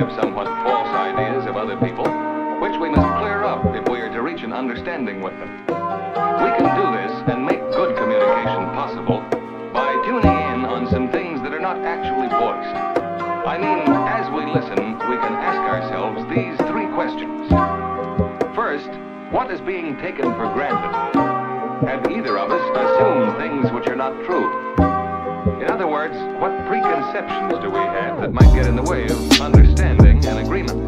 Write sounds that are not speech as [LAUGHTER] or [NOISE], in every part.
have somewhat false ideas of other people, which we must clear up if we are to reach an understanding with them. We can do this and make good communication possible by tuning in on some things that are not actually voiced. I mean, as we listen, we can ask ourselves these three questions. First, what is being taken for granted? Have either of us assumed things which are not true? In other words, what preconceptions do we have that might get in the way of understanding and agreement?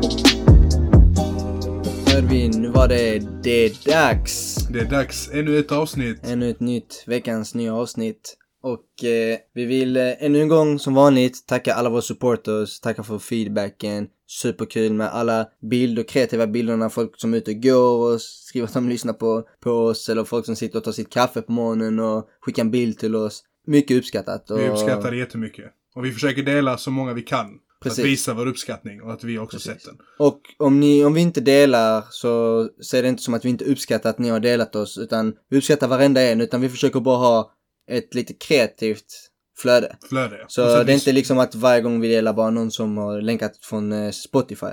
Örvin, nu var det, det är dags! Det är dags, ännu ett avsnitt. Ännu ett nytt, veckans nya avsnitt. Och eh, vi vill eh, ännu en gång som vanligt tacka alla våra supporters, tacka för feedbacken. Superkul med alla bilder, kreativa bilderna, folk som är ute och går och skriver att de lyssnar på, på oss eller folk som sitter och tar sitt kaffe på morgonen och skickar en bild till oss. Mycket uppskattat. Och... Vi uppskattar det jättemycket. Och vi försöker dela så många vi kan. För Precis. att visa vår uppskattning och att vi också sett den. Och om, ni, om vi inte delar så ser det inte som att vi inte uppskattar att ni har delat oss utan vi uppskattar varenda en utan vi försöker bara ha ett lite kreativt flöde. Flöde. Så Och det är vis- inte liksom att varje gång vi delar bara någon som har länkat från eh, Spotify.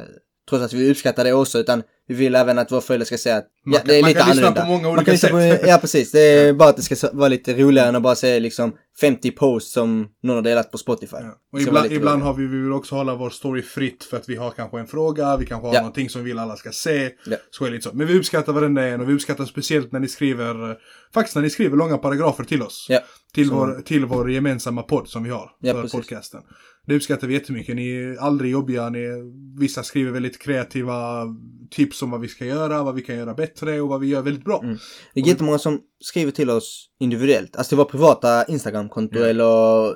Trots att vi uppskattar det också utan vi vill även att våra följare ska säga att Man ja, kan- det är man lite kan lyssna annorlunda. på många Man olika kan lyssna sätt. ja precis, det är bara att det ska så- vara lite roligare än att bara säga liksom 50 posts som någon har delat på Spotify. Ja. Det Och ska vara ibland, lite ibland roligare. har vi, vi vill också hålla vår story fritt för att vi har kanske en fråga, vi kanske har Ja. någonting som vi vill alla ska se. Ja. Så är det lite så. Men vi uppskattar varenda en och vi uppskattar speciellt när ni skriver, eh, faktiskt när ni skriver långa paragrafer till oss. Ja. Till, Så- vår, till vår gemensamma podd som vi har Ja, för precis. podcasten. Det uppskattar vi jättemycket. Ni är aldrig jobbiga. Ni, vissa skriver väldigt kreativa tips om vad vi ska göra, vad vi kan göra bättre och vad vi gör väldigt bra. Mm. Det är jättemånga som skriver till oss individuellt, alltså till våra privata Instagramkonto Mm. eller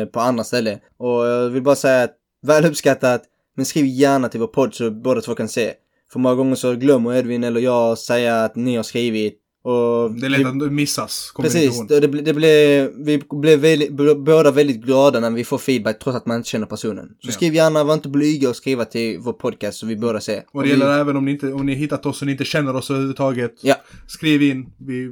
eh, på andra ställen. Och jag vill bara säga att väl uppskattat, men skriv gärna till vår podd så båda två kan se. För många gånger så glömmer Edvin eller jag säga att ni har skrivit. Och Det är lätt vi, att missas. Precis, kommunikation. och det, blir- det blev, vi blev väldigt, båda väldigt glada när vi får feedback trots att man inte känner personen. Så Ja. skriv gärna, var inte blyga och skriva till vår podcast så vi båda ser. Och det vi, gäller även om ni, inte, om ni hittat oss och ni inte känner oss överhuvudtaget. Ja. Skriv in. Vi,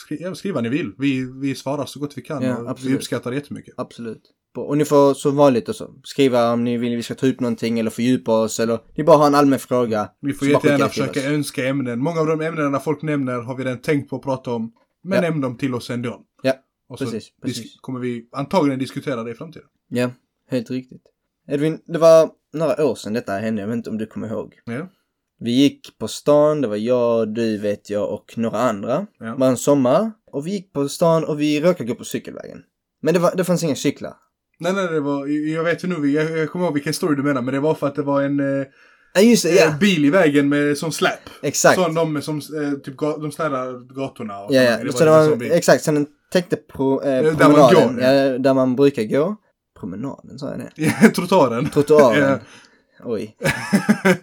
skri, ja, skriv vad ni vill. Vi, vi svarar så gott vi kan. Ja, och vi absolut. uppskattar det jättemycket. Absolut. Och ni får som vanligt också skriva om ni vill vi ska ta upp någonting eller fördjupa oss eller ni bara har en allmän fråga. Vi får Så bara skicka jättegärna det till försöka oss. önska ämnen. Många av de ämnena folk nämner har vi redan tänkt på att prata om. Men Ja. nämn dem till oss ändå. Ja, Och så precis, dis- precis. kommer vi antagligen diskutera det i framtiden. Ja, helt riktigt. Edvin, det var några år sedan detta hände, jag vet inte om du kommer ihåg. Ja. Vi gick på stan, det var jag, du vet jag och några andra. Ja. Det var en sommar och vi gick på stan och vi råkade gå på cykelvägen. Men det, var, det fanns inga cyklar. Nej, nej, det var, jag vet ju nu, jag, jag kommer ihåg vilken story du menar, men det var för att det var en eh, Ja just det, ja! bil i vägen med som släp. Exakt. Som de, som, eh, typ, ga- de städar gatorna. och Ja, sådär. ja. Det var liksom så det en sån var, bil. exakt, så den täckte pro, eh, man promenaden. går, ja. ja. där man brukar gå. Promenaden, sa jag det? Ja, [LAUGHS] Trottoaren. Trottoaren. [LAUGHS] Ja. Oj.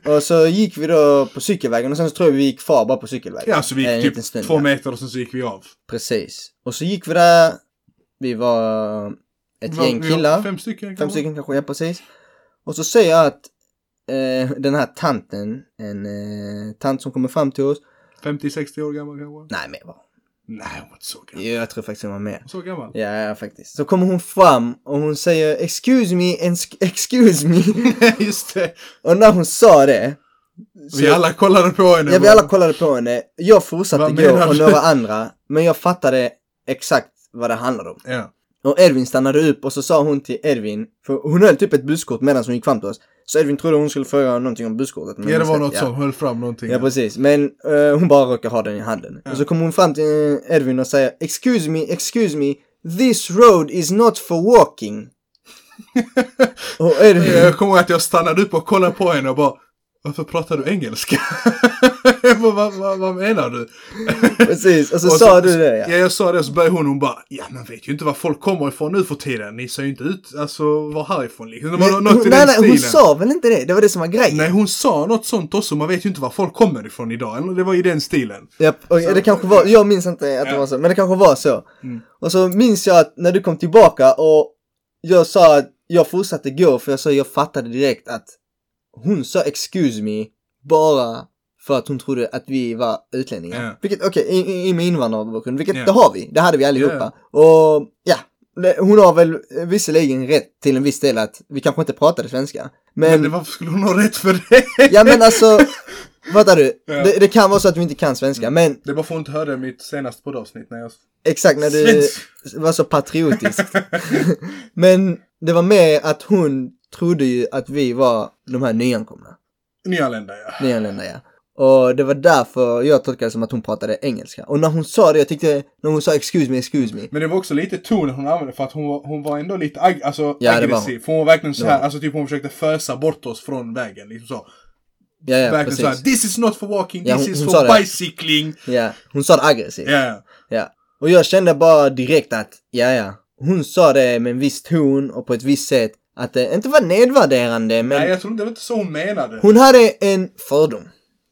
och så gick vi då på cykelvägen och sen så tror jag vi gick kvar bara på cykelvägen. Eh, Ja, så vi En gick liten typ stund, två ja. meter och sen så gick vi av. Precis. Och så gick vi där. Vi var ett Vi var- gäng vi var killar. Fem, Fem stycken. kanske. stycken kanske, ja precis. Och så säger jag att eh, den här tanten, en eh, tant som kommer fram till oss. 50-60 år gammal kanske. Nej, mer var Nej, hon var inte så gammal. Jo, Jag tror faktiskt hon var mer. Så gammal. Ja, ja, faktiskt. Så kommer hon fram och hon säger excuse me, ens- [LAUGHS] excuse me. [LAUGHS] Just det. och när hon sa det. så- Vi alla kollade på henne. Ja, vi alla kollade på henne. Jag fortsatte Vad gå menar och du? några andra. Men jag fattade exakt vad det handlade om. Ja. Och Edvin stannade upp och så sa hon till Edvin, för hon höll typ ett busskort medan hon gick fram till oss. Så Edvin trodde hon skulle fråga någonting om busskortet. men ja, det hon var sa- något ja. som höll fram någonting. Ja, precis. Men eh, hon bara råkade ha den i handen. Och så kom hon fram till eh, Edvin och säger Excuse me, excuse me, this road is not for [LAUGHS] walking. och Edvin, Jag kommer ihåg att jag stannade upp och kollade på henne och bara varför pratar du engelska? [LAUGHS] Jag bara, vad, vad, vad menar du? [LAUGHS] precis. Och så, Och sa du det, ja. Ja, jag sa det och så började hon, hon bara, ja man vet ju inte var folk kommer ifrån nu för tiden. Ni ser ju inte ut, alltså, var härifrån liksom. Det var Men något hon, i nej, den nej, hon stilen. sa väl inte det? Det var det som var grejen. Nej, hon sa något sånt också. Man vet ju inte var folk kommer ifrån idag. Eller det var i den stilen. Japp, och det kanske var, jag minns inte att det Ja. Mm. var så, men det kanske var så. Och så minns jag att när du kom tillbaka och jag sa att jag fortsatte gå för jag sa jag fattade direkt att hon sa excuse me bara för att hon trodde att vi var utlänningar. Ja. Vilket, okej, i- i, i med invandrarbakgrund, vilket Ja. det har vi, det hade vi allihopa. Och ja, det- hon har väl visserligen rätt till en viss del att vi kanske inte pratade svenska. Men, Men, varför skulle hon ha rätt för det? ja men [LAUGHS] alltså, fattar du? Ja. Mm. Det, det kan vara så att vi inte kan svenska, men Det var för hon inte hörde mitt senaste poddavsnitt när jag... Exakt, när du Svensk. var så patriotisk. [LAUGHS] Men det var mer att hon trodde ju att vi var de här nyankomna. Nyanlända ja. Nyanlända ja. Och det var därför jag tolkade det som att hon pratade engelska. Och när hon sa det, jag tyckte, när hon sa excuse me, excuse me. Men det var också lite tonen hon använde för att hon var, hon var ändå lite ag- alltså, Ja, det var aggressiv. För hon var verkligen så här, alltså typ hon försökte fösa bort oss från vägen. Liksom så. Ja, ja, verkligen så här, precis. this is not for walking, Ja, this hon- is hon for sa det. bicycling. Ja, hon sa det aggressivt. Ja, ja. Ja. Och jag kände bara direkt att, ja, ja. Hon sa det med en viss ton och på ett visst sätt. Att det inte var nedvärderande, men Nej, jag tror inte det var inte så hon menade. Hon, hon hade en fördom.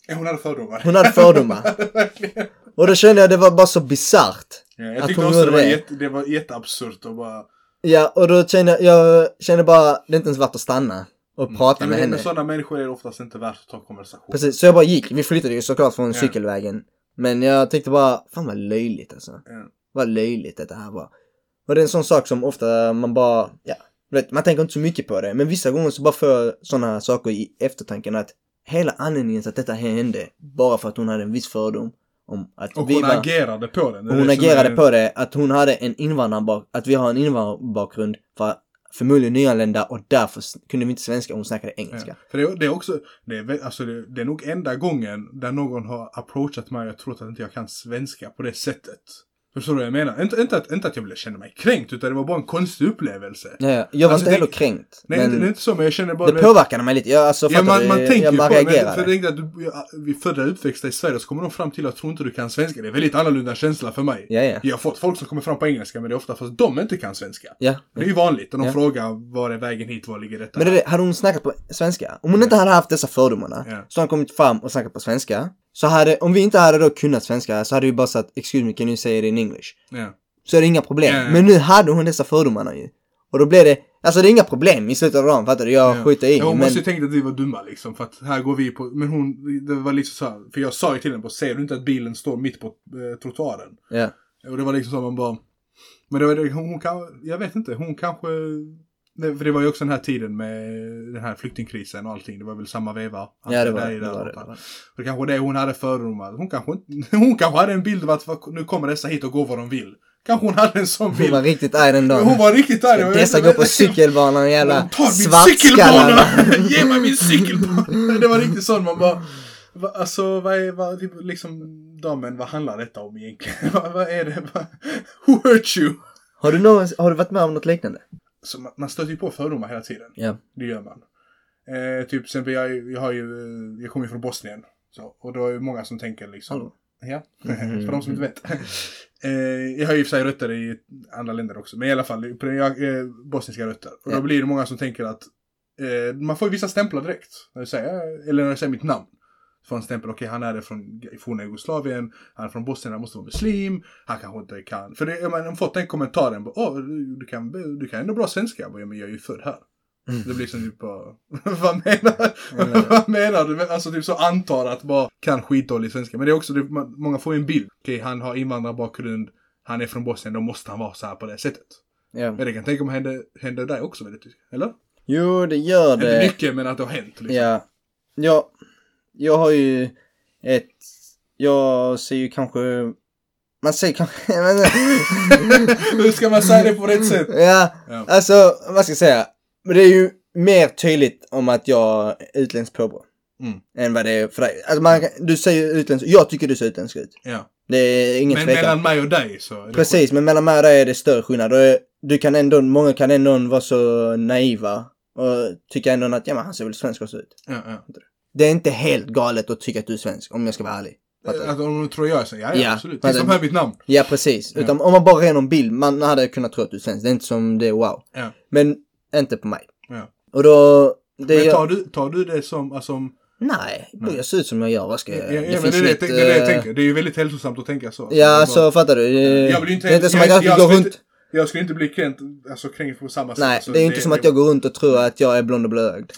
hon hade fördomar. Hon hade fördomar. [LAUGHS] Verkligen. Och då kände jag det var bara så bisarrt. ja, Att jag tyckte hon också det gjorde var, det. jätte, det var jätteabsurt och bara... Ja, och då kände jag, jag kände bara, det är inte ens värt att stanna och prata med Ja, Mm. men henne. med sådana människor är det oftast inte värt att ta konversation. Precis, så jag bara gick. Vi flyttade ju såklart från Ja. cykelvägen. Men jag tyckte bara, fan vad löjligt alltså. Ja. Vad löjligt det här var. Och det är en sån sak som ofta man bara, ja, du vet, man tänker inte så mycket på det. Men vissa gånger så bara får jag såna saker i eftertanken att hela anledningen till att detta hände, bara för att hon hade en viss fördom om att Och vi hon var... agerade på den. Och hon Det känner agerade jag- på det att hon hade en invandrarbak, att vi har en invandrarbakgrund för förmodligen nyanlända och därför s- kunde vi inte svenska och hon snackade engelska. Ja. För det, det är också, det är, vä- alltså det, det är nog enda gången där någon har approachat mig och jag trott att inte jag kan svenska på det sättet. Förstår du vad jag menar? Inte, inte, att, inte att jag ville känna mig kränkt, utan det var bara en konstig upplevelse. Ja, ja. Jag var Alltså, inte det- heller kränkt. Nej, men inte, det är inte så, men jag känner bara... det påverkade mig lite. Jag, alltså, ja, fattar man, du? man tänker jag ju på bara det. men För reagerade. jag tänkte att du, ja, vi födda och uppväxta i Sverige, så kommer de fram till att tror inte du kan svenska. Det är en väldigt annorlunda känsla för mig. Ja, ja. Jag har fått folk som kommer fram på engelska, men det är ofta för att de inte kan svenska. ja. Det är ju vanligt, när de Ja. frågar var är vägen hit, var ligger detta? Men det, är det, hade hon snackat på svenska, om hon inte hade haft dessa fördomarna, Ja. så hade hon kommit fram och snackat på svenska. Så hade, om vi inte hade då kunnat svenska så hade vi bara sagt excuse me, can you say it in English? Ja. så är det inga problem. Ja, ja. Men nu hade hon dessa fördomarna ju. Och då blev det, alltså det är inga problem i slutet av dagen fattar du? Jag skjuter in. Ja, hon men, måste ju tänkt att vi var dumma liksom, för att här går vi på... Men hon, det var liksom så här, för jag sa ju till henne på, ser du inte att bilen står mitt på eh, trottoaren? ja. Och det var liksom så här, man bara... Men det var det, hon, hon kan, jag vet inte, hon kanske... Nej, för det var ju också den här tiden med den här flyktingkrisen och allting, det var väl samma veva. ja, det var Där det. i det, där var det, borta. det, var det. Och det kanske var det hon hade fördomar. Hon kanske, [LAUGHS] inte- hon kanske hade en bild av att nu kommer dessa hit och går vad de vill. Kanske hon hade en sån Hon bild. var riktigt arg den dagen. Hon var riktigt arg. jag vet Dessa inte, går på men- cykelbanan, jävla de tar min svartskallarna. cykelbana! Ge mig min cykelbana! Det var riktigt sån man bara... Va, alltså vad är, vad, typ, liksom, damen, vad handlar detta om egentligen? [LAUGHS] vad, vad är det? Va, who hurt you? Har du, någon, har du varit med om något liknande? Så man, man stöter ju på fördomar hela tiden. Ja. Det gör man. Eh, typ till exempel, jag, är ju- jag har ju, eh, jag kommer ju från Bosnien. Så, och då är det många som tänker liksom... Hallå. Ja, för de som inte vet. Eh, jag har ju i och för sig rötter i andra länder också, men i alla fall på den, jag, eh, bosniska rötter. Och Ja. då blir det många som tänker att eh, man får ju vissa stämplar direkt. När jag säger, eller när jag säger mitt namn. Får en stämpel, okej han är det från forna Jugoslavien, han är från Bosnien, han måste vara muslim, han kanske inte kan. För det, jag menar, de har fått den kommentaren, bara, åh du, du, kan, du kan ändå bra svenska. Jag bara, ja, men jag är ju född här. Det blir liksom typ bara, [LAUGHS] vad menar, Mm. [LAUGHS] vad menar du? Men Alltså typ så antar att bara kan skitdålig svenska. Men det är också, det, man, många får ju en bild. Okej, han har invandrarbakgrund, han är från Bosnien, då måste han vara så här på det sättet. Ja. Men det kan jag tänka mig händer, händer där också väldigt mycket, eller? Jo, det gör Inte det. mycket, men att det har hänt liksom. Ja. ja. Jag har ju ett... Jag ser ju kanske... Man säger kanske... [LAUGHS] [LAUGHS] Hur ska man säga det på rätt sätt? Ja, Ja. alltså vad ska jag säga? Men Det är ju mer tydligt om att jag är utländskt påbrå. Mm. Än vad det är för dig. Alltså, man, kan- du säger utländsk, jag tycker du ser utländsk ut. Ja. Det är ingen Men tvekan. mellan mig och dig så. är det skit. Precis, men mellan mig och dig är det större skillnad. Och eh, du kan ändå, många kan ändå vara så naiva och tycka ändå att ja, men han ser väl svensk också ut. Ja, ja. Det är inte helt galet att tycka att du är svensk, om jag ska vara ärlig. Fattar du? Att om de tror jag är så, ja, ja, Ja. absolut. Men Tills de det- hör mitt namn. Ja, precis. Ja. Utan om man bara är någon bild, man hade kunnat tro att du är svensk. Det är inte som det, wow. Ja. Men inte på mig. Ja. Och då... Det Men jag- tar du, tar du det som, alltså, om- Nej, Nej. jag ser ut som jag gör. Vad ska Ja, jag ja, göra? men det, är det, jag tänk- det är det jag tänker. Det är ju väldigt hälsosamt att tänka så. Ja, Det är alltså bara- fattar du? Det- Jag vill ju inte- det är inte som jag- att jag, jag går skulle runt... inte- Jag skulle inte bli kränkt, alltså kränkt på samma sätt. Nej, så det är inte som att jag går runt och tror att jag är blond och [LAUGHS] blöögd.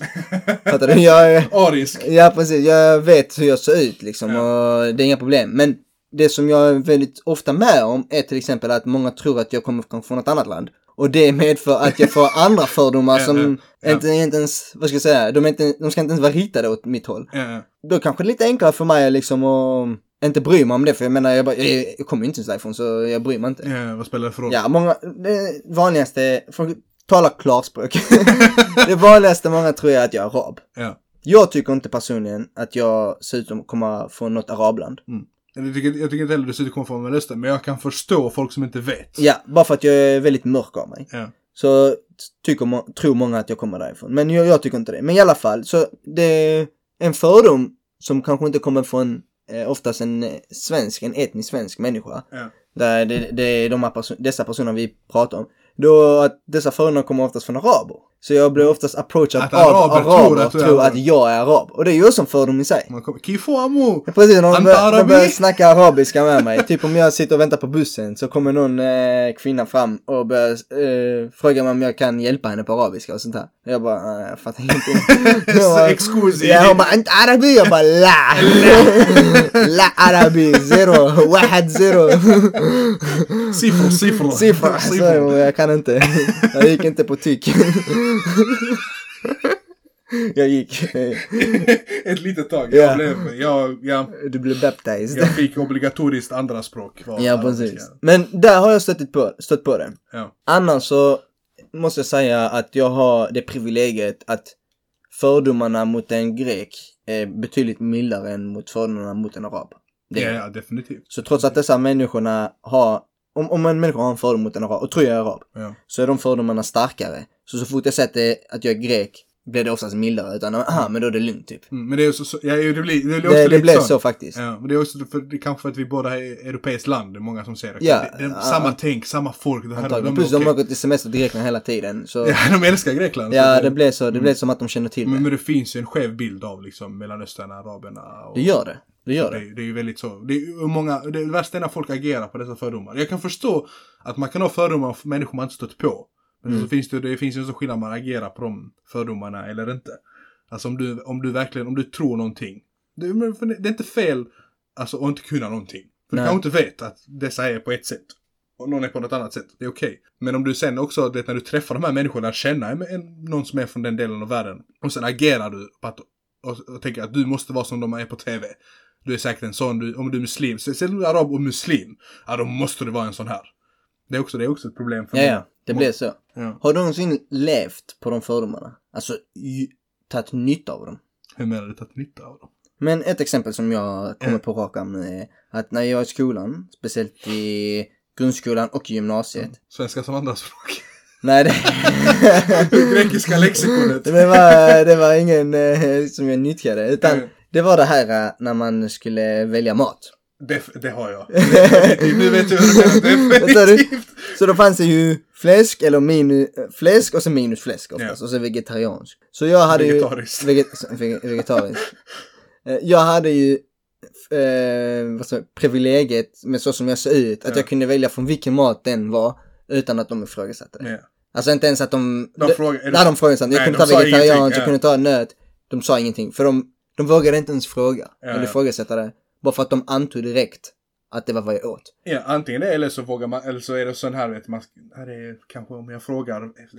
fattar du? Jag är... Arisk. Ja, precis. Jag vet hur jag ser ut liksom Ja. och det är inga problem. Men det som jag är väldigt ofta med om är till exempel att många tror att jag kommer från från ett annat land. Och det medför att jag får andra fördomar som [LAUGHS] Ja. inte, inte ens, vad ska jag säga, de, är inte, de ska inte ens vara riktade åt mitt håll. Eh, Då kanske det är lite enklare för mig liksom att inte bry mig om det, för jag menar, jag, bara, jag, jag kommer ju inte ens därifrån så jag bryr mig inte. eh, vad spelar det för roll? Ja, många, det vanligaste, är- folk talar klarspråk. [LAUGHS] det vanligaste många tror är att jag är arab. Ja. Jag tycker inte personligen att jag ser ut att komma från något arabland. Eller Jag, tycker, jag tycker inte heller du sitter kommer från Mellanöstern, men jag kan förstå folk som inte vet. Ja, bara för att jag är väldigt mörk av mig. Ja. Så tycker, må- tror många att jag kommer därifrån. Men jag, jag tycker inte det. Men i alla fall, så det är en fördom som kanske inte kommer från eh, oftast en eh, svensk, en etnisk svensk människa. Ja. Där det, det är de här perso- dessa personer vi pratar om. Då att dessa fördomar kommer oftast från araber. Så jag blir oftast approachad Mm. Att av araber araber, tror att du är Mm. tror arab. att jag är arab. Och det är ju också en fördom i sig. Man kommer, Kifuamu! Ja, Precis, de, bör, Antarabi? de börjar snacka arabiska med mig. Typ om jag sitter och väntar på bussen så kommer någon eh, kvinna fram och börjar eh, fråga mig om jag kan hjälpa henne på arabiska och sånt där. Och Jag bara, "Nej, jag fattar [LAUGHS] ingenting. Jag bara- Excusi. Ja, hon bara, inte arabi? Jag bara, [LAUGHS] la! [LAUGHS] La arabi, zero, wahad zero. Siffror, siffror! Siffra, så alltså, jag kan inte. Jag gick inte på tyck. Jag gick, [LAUGHS] Ett litet tag. Ja. Jag, blev, jag, jag, du blev baptized. jag fick obligatoriskt andra språk. var Ja, arabiska. precis. Men där har jag stött på, stött på det. Ja. Annars så måste jag säga att jag har det privilegiet att fördomarna mot en grek är betydligt mildare än mot fördomarna mot en arab. Det. Ja, ja, definitivt. Så trots att dessa människorna har, om, om en människa har en fördom mot en arab, och tror jag är arab, Ja. så är de fördomarna starkare. Så så fort jag sett det, att jag är grek blir det oftast mildare. Utan, aha, men då är det lugnt typ. Mm, men det är ju så, så, ja, ju, det blir, det blir också Det, det lite blev sånt. så faktiskt. Ja, men det är också för, det är kanske för att vi båda är europeiskt land, det är många som säger det. Ja, det, det är ja. samma tänk, samma folk. Det här, Antagligen. de, Plus de, de okay. har gått till semester till Grekland hela tiden. Så... [LAUGHS] ja, de älskar Grekland. så Ja, det- mm. det blev så. Det blev som att de känner till men, det. men det finns ju en skev bild av liksom Mellanöstern, araberna och... Det gör det. Det gör det. Det, det är ju väldigt så. Det är ju många, det värsta är när folk agerar på dessa fördomar. Jag kan förstå att man kan ha fördomar för människor man inte stött på. Men Mm. så finns det, det finns ju en sån skillnad om man agerar på de fördomarna eller inte. Alltså om du, om du verkligen, om du tror någonting. Det, men för det det är inte fel, alltså att inte kunna någonting. För Nej. du kanske inte vet att dessa är på ett sätt. Och någon är på något annat sätt. Det är okej. Men om du sen också, det, när du träffar de här människorna, lär känna en, en, någon som är från den delen av världen. Och sen agerar du på att, och, och tänker att du måste vara som de är på TV. Du är säkert en sån, du, om du är muslim. Så Sen om du är arab och muslim, ja då måste du vara en sån här. Det är också, det är också ett problem för Ja, mig. ja. Det blev så. Ja. Har du någonsin levt på de fördomarna? Alltså, ju- tagit nytta av dem? Hur menar du tagit nytta av dem? Men ett exempel som jag kommer Mm. på rak arm nu är att när jag är i skolan, speciellt i grundskolan och gymnasiet. Mm. Svenska [LAUGHS] som andraspråk. Nej, det... Grekiska [LAUGHS] lexikonet. Det var, det var ingen eh, som jag nyttjade, utan Mm. det var det här eh, när man skulle välja mat. Det, det har jag. Definitivt. nu vet jag hur du [LAUGHS] menar. Vänta, du- Definitivt. Så då fanns det ju fläsk eller minu, eh, fläsk och så minus fläsk oftast Ja. och så vegetariansk. Så jag hade Vegetariskt. ju... Veget, vege- vegetariskt. Eh, jag hade ju eh, vad säger, jag, privilegiet med så som jag såg ut att Ja. jag kunde välja från vilken mat den var utan att de ifrågasatte. Ja. Alltså inte ens att de... De frågar, är Nej, de frågade inte. Nej, Jag kunde de ta sa ingenting, vegetarianskt, ja. jag kunde ta nöt. De sa ingenting, för de, de vågade inte ens fråga. Ja, eller ja. ifrågasätta det. Bara för att de antog direkt att det var vad jag åt. Ja, antingen det eller så vågar man, eller så är det sån här vet man, här är kanske om jag frågar,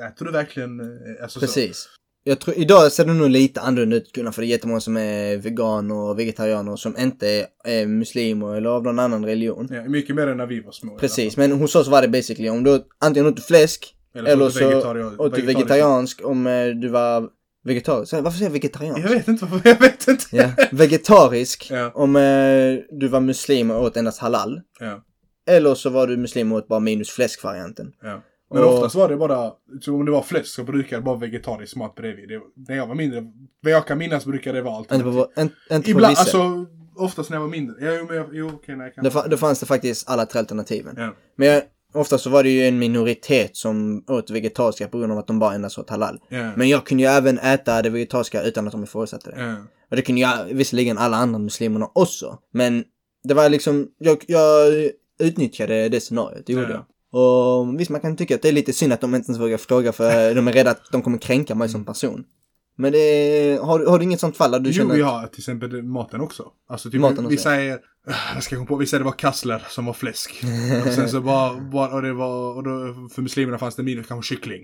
äter du verkligen, eh, alltså så. Precis. Jag tror, idag ser det nog lite annorlunda ut Gunnar, för det är jättemånga som är veganer och vegetarianer som inte är, är muslimer eller av någon annan religion. Ja, mycket mer än när vi var små. i alla Precis, men hos oss var det basically om du åt- antingen åt du fläsk fall. eller åt du så vegetarian- åt du vegetariskt. vegetariansk om eh, du var vegetarisk. Varför säger jag vegetariansk? Jag vet inte varför, jag vet inte. Ja. Vegetarisk Ja. om eh, du var muslim och åt endast halal. Ja, Eller så var du muslim och åt bara minus fläskvarianten. ja. Men Och- oftast var det bara, så om det var fläsk så brukade det vara vegetarisk mat bredvid. Det, när jag var mindre, vad jag kan minnas brukade det vara allt. Inte på, vår- en, inte på Ibland, vissa. alltså oftast när jag var mindre. Ja, jo, men jag, jo, okej, nej, Då, kanske. fa- då fanns det faktiskt alla tre alternativen. Ja. Men jag, ofta så var det ju en minoritet som åt vegetariska på grund av att de bara endast åt halal. Ja. Men jag kunde ju även äta det vegetariska utan att de ifrågasatte det. Ja. Och det kunde jag visserligen alla andra muslimerna också. Men det var liksom, jag, jag utnyttjade det scenariot, det gjorde Ja. jag. Och visst, man kan tycka att det är lite synd att de inte ens vågar fråga för de är rädda att de kommer kränka mig som person. Men det är, har, har du inget sånt fall där du Mm. jo, känner... vi har till exempel maten också. Alltså typ, Maten maten också, vi säger, Ah, jag ska komma på, vi säger det var kassler som var fläsk. och sen så var, var och det var, och då, för muslimerna fanns det minus kanske kyckling.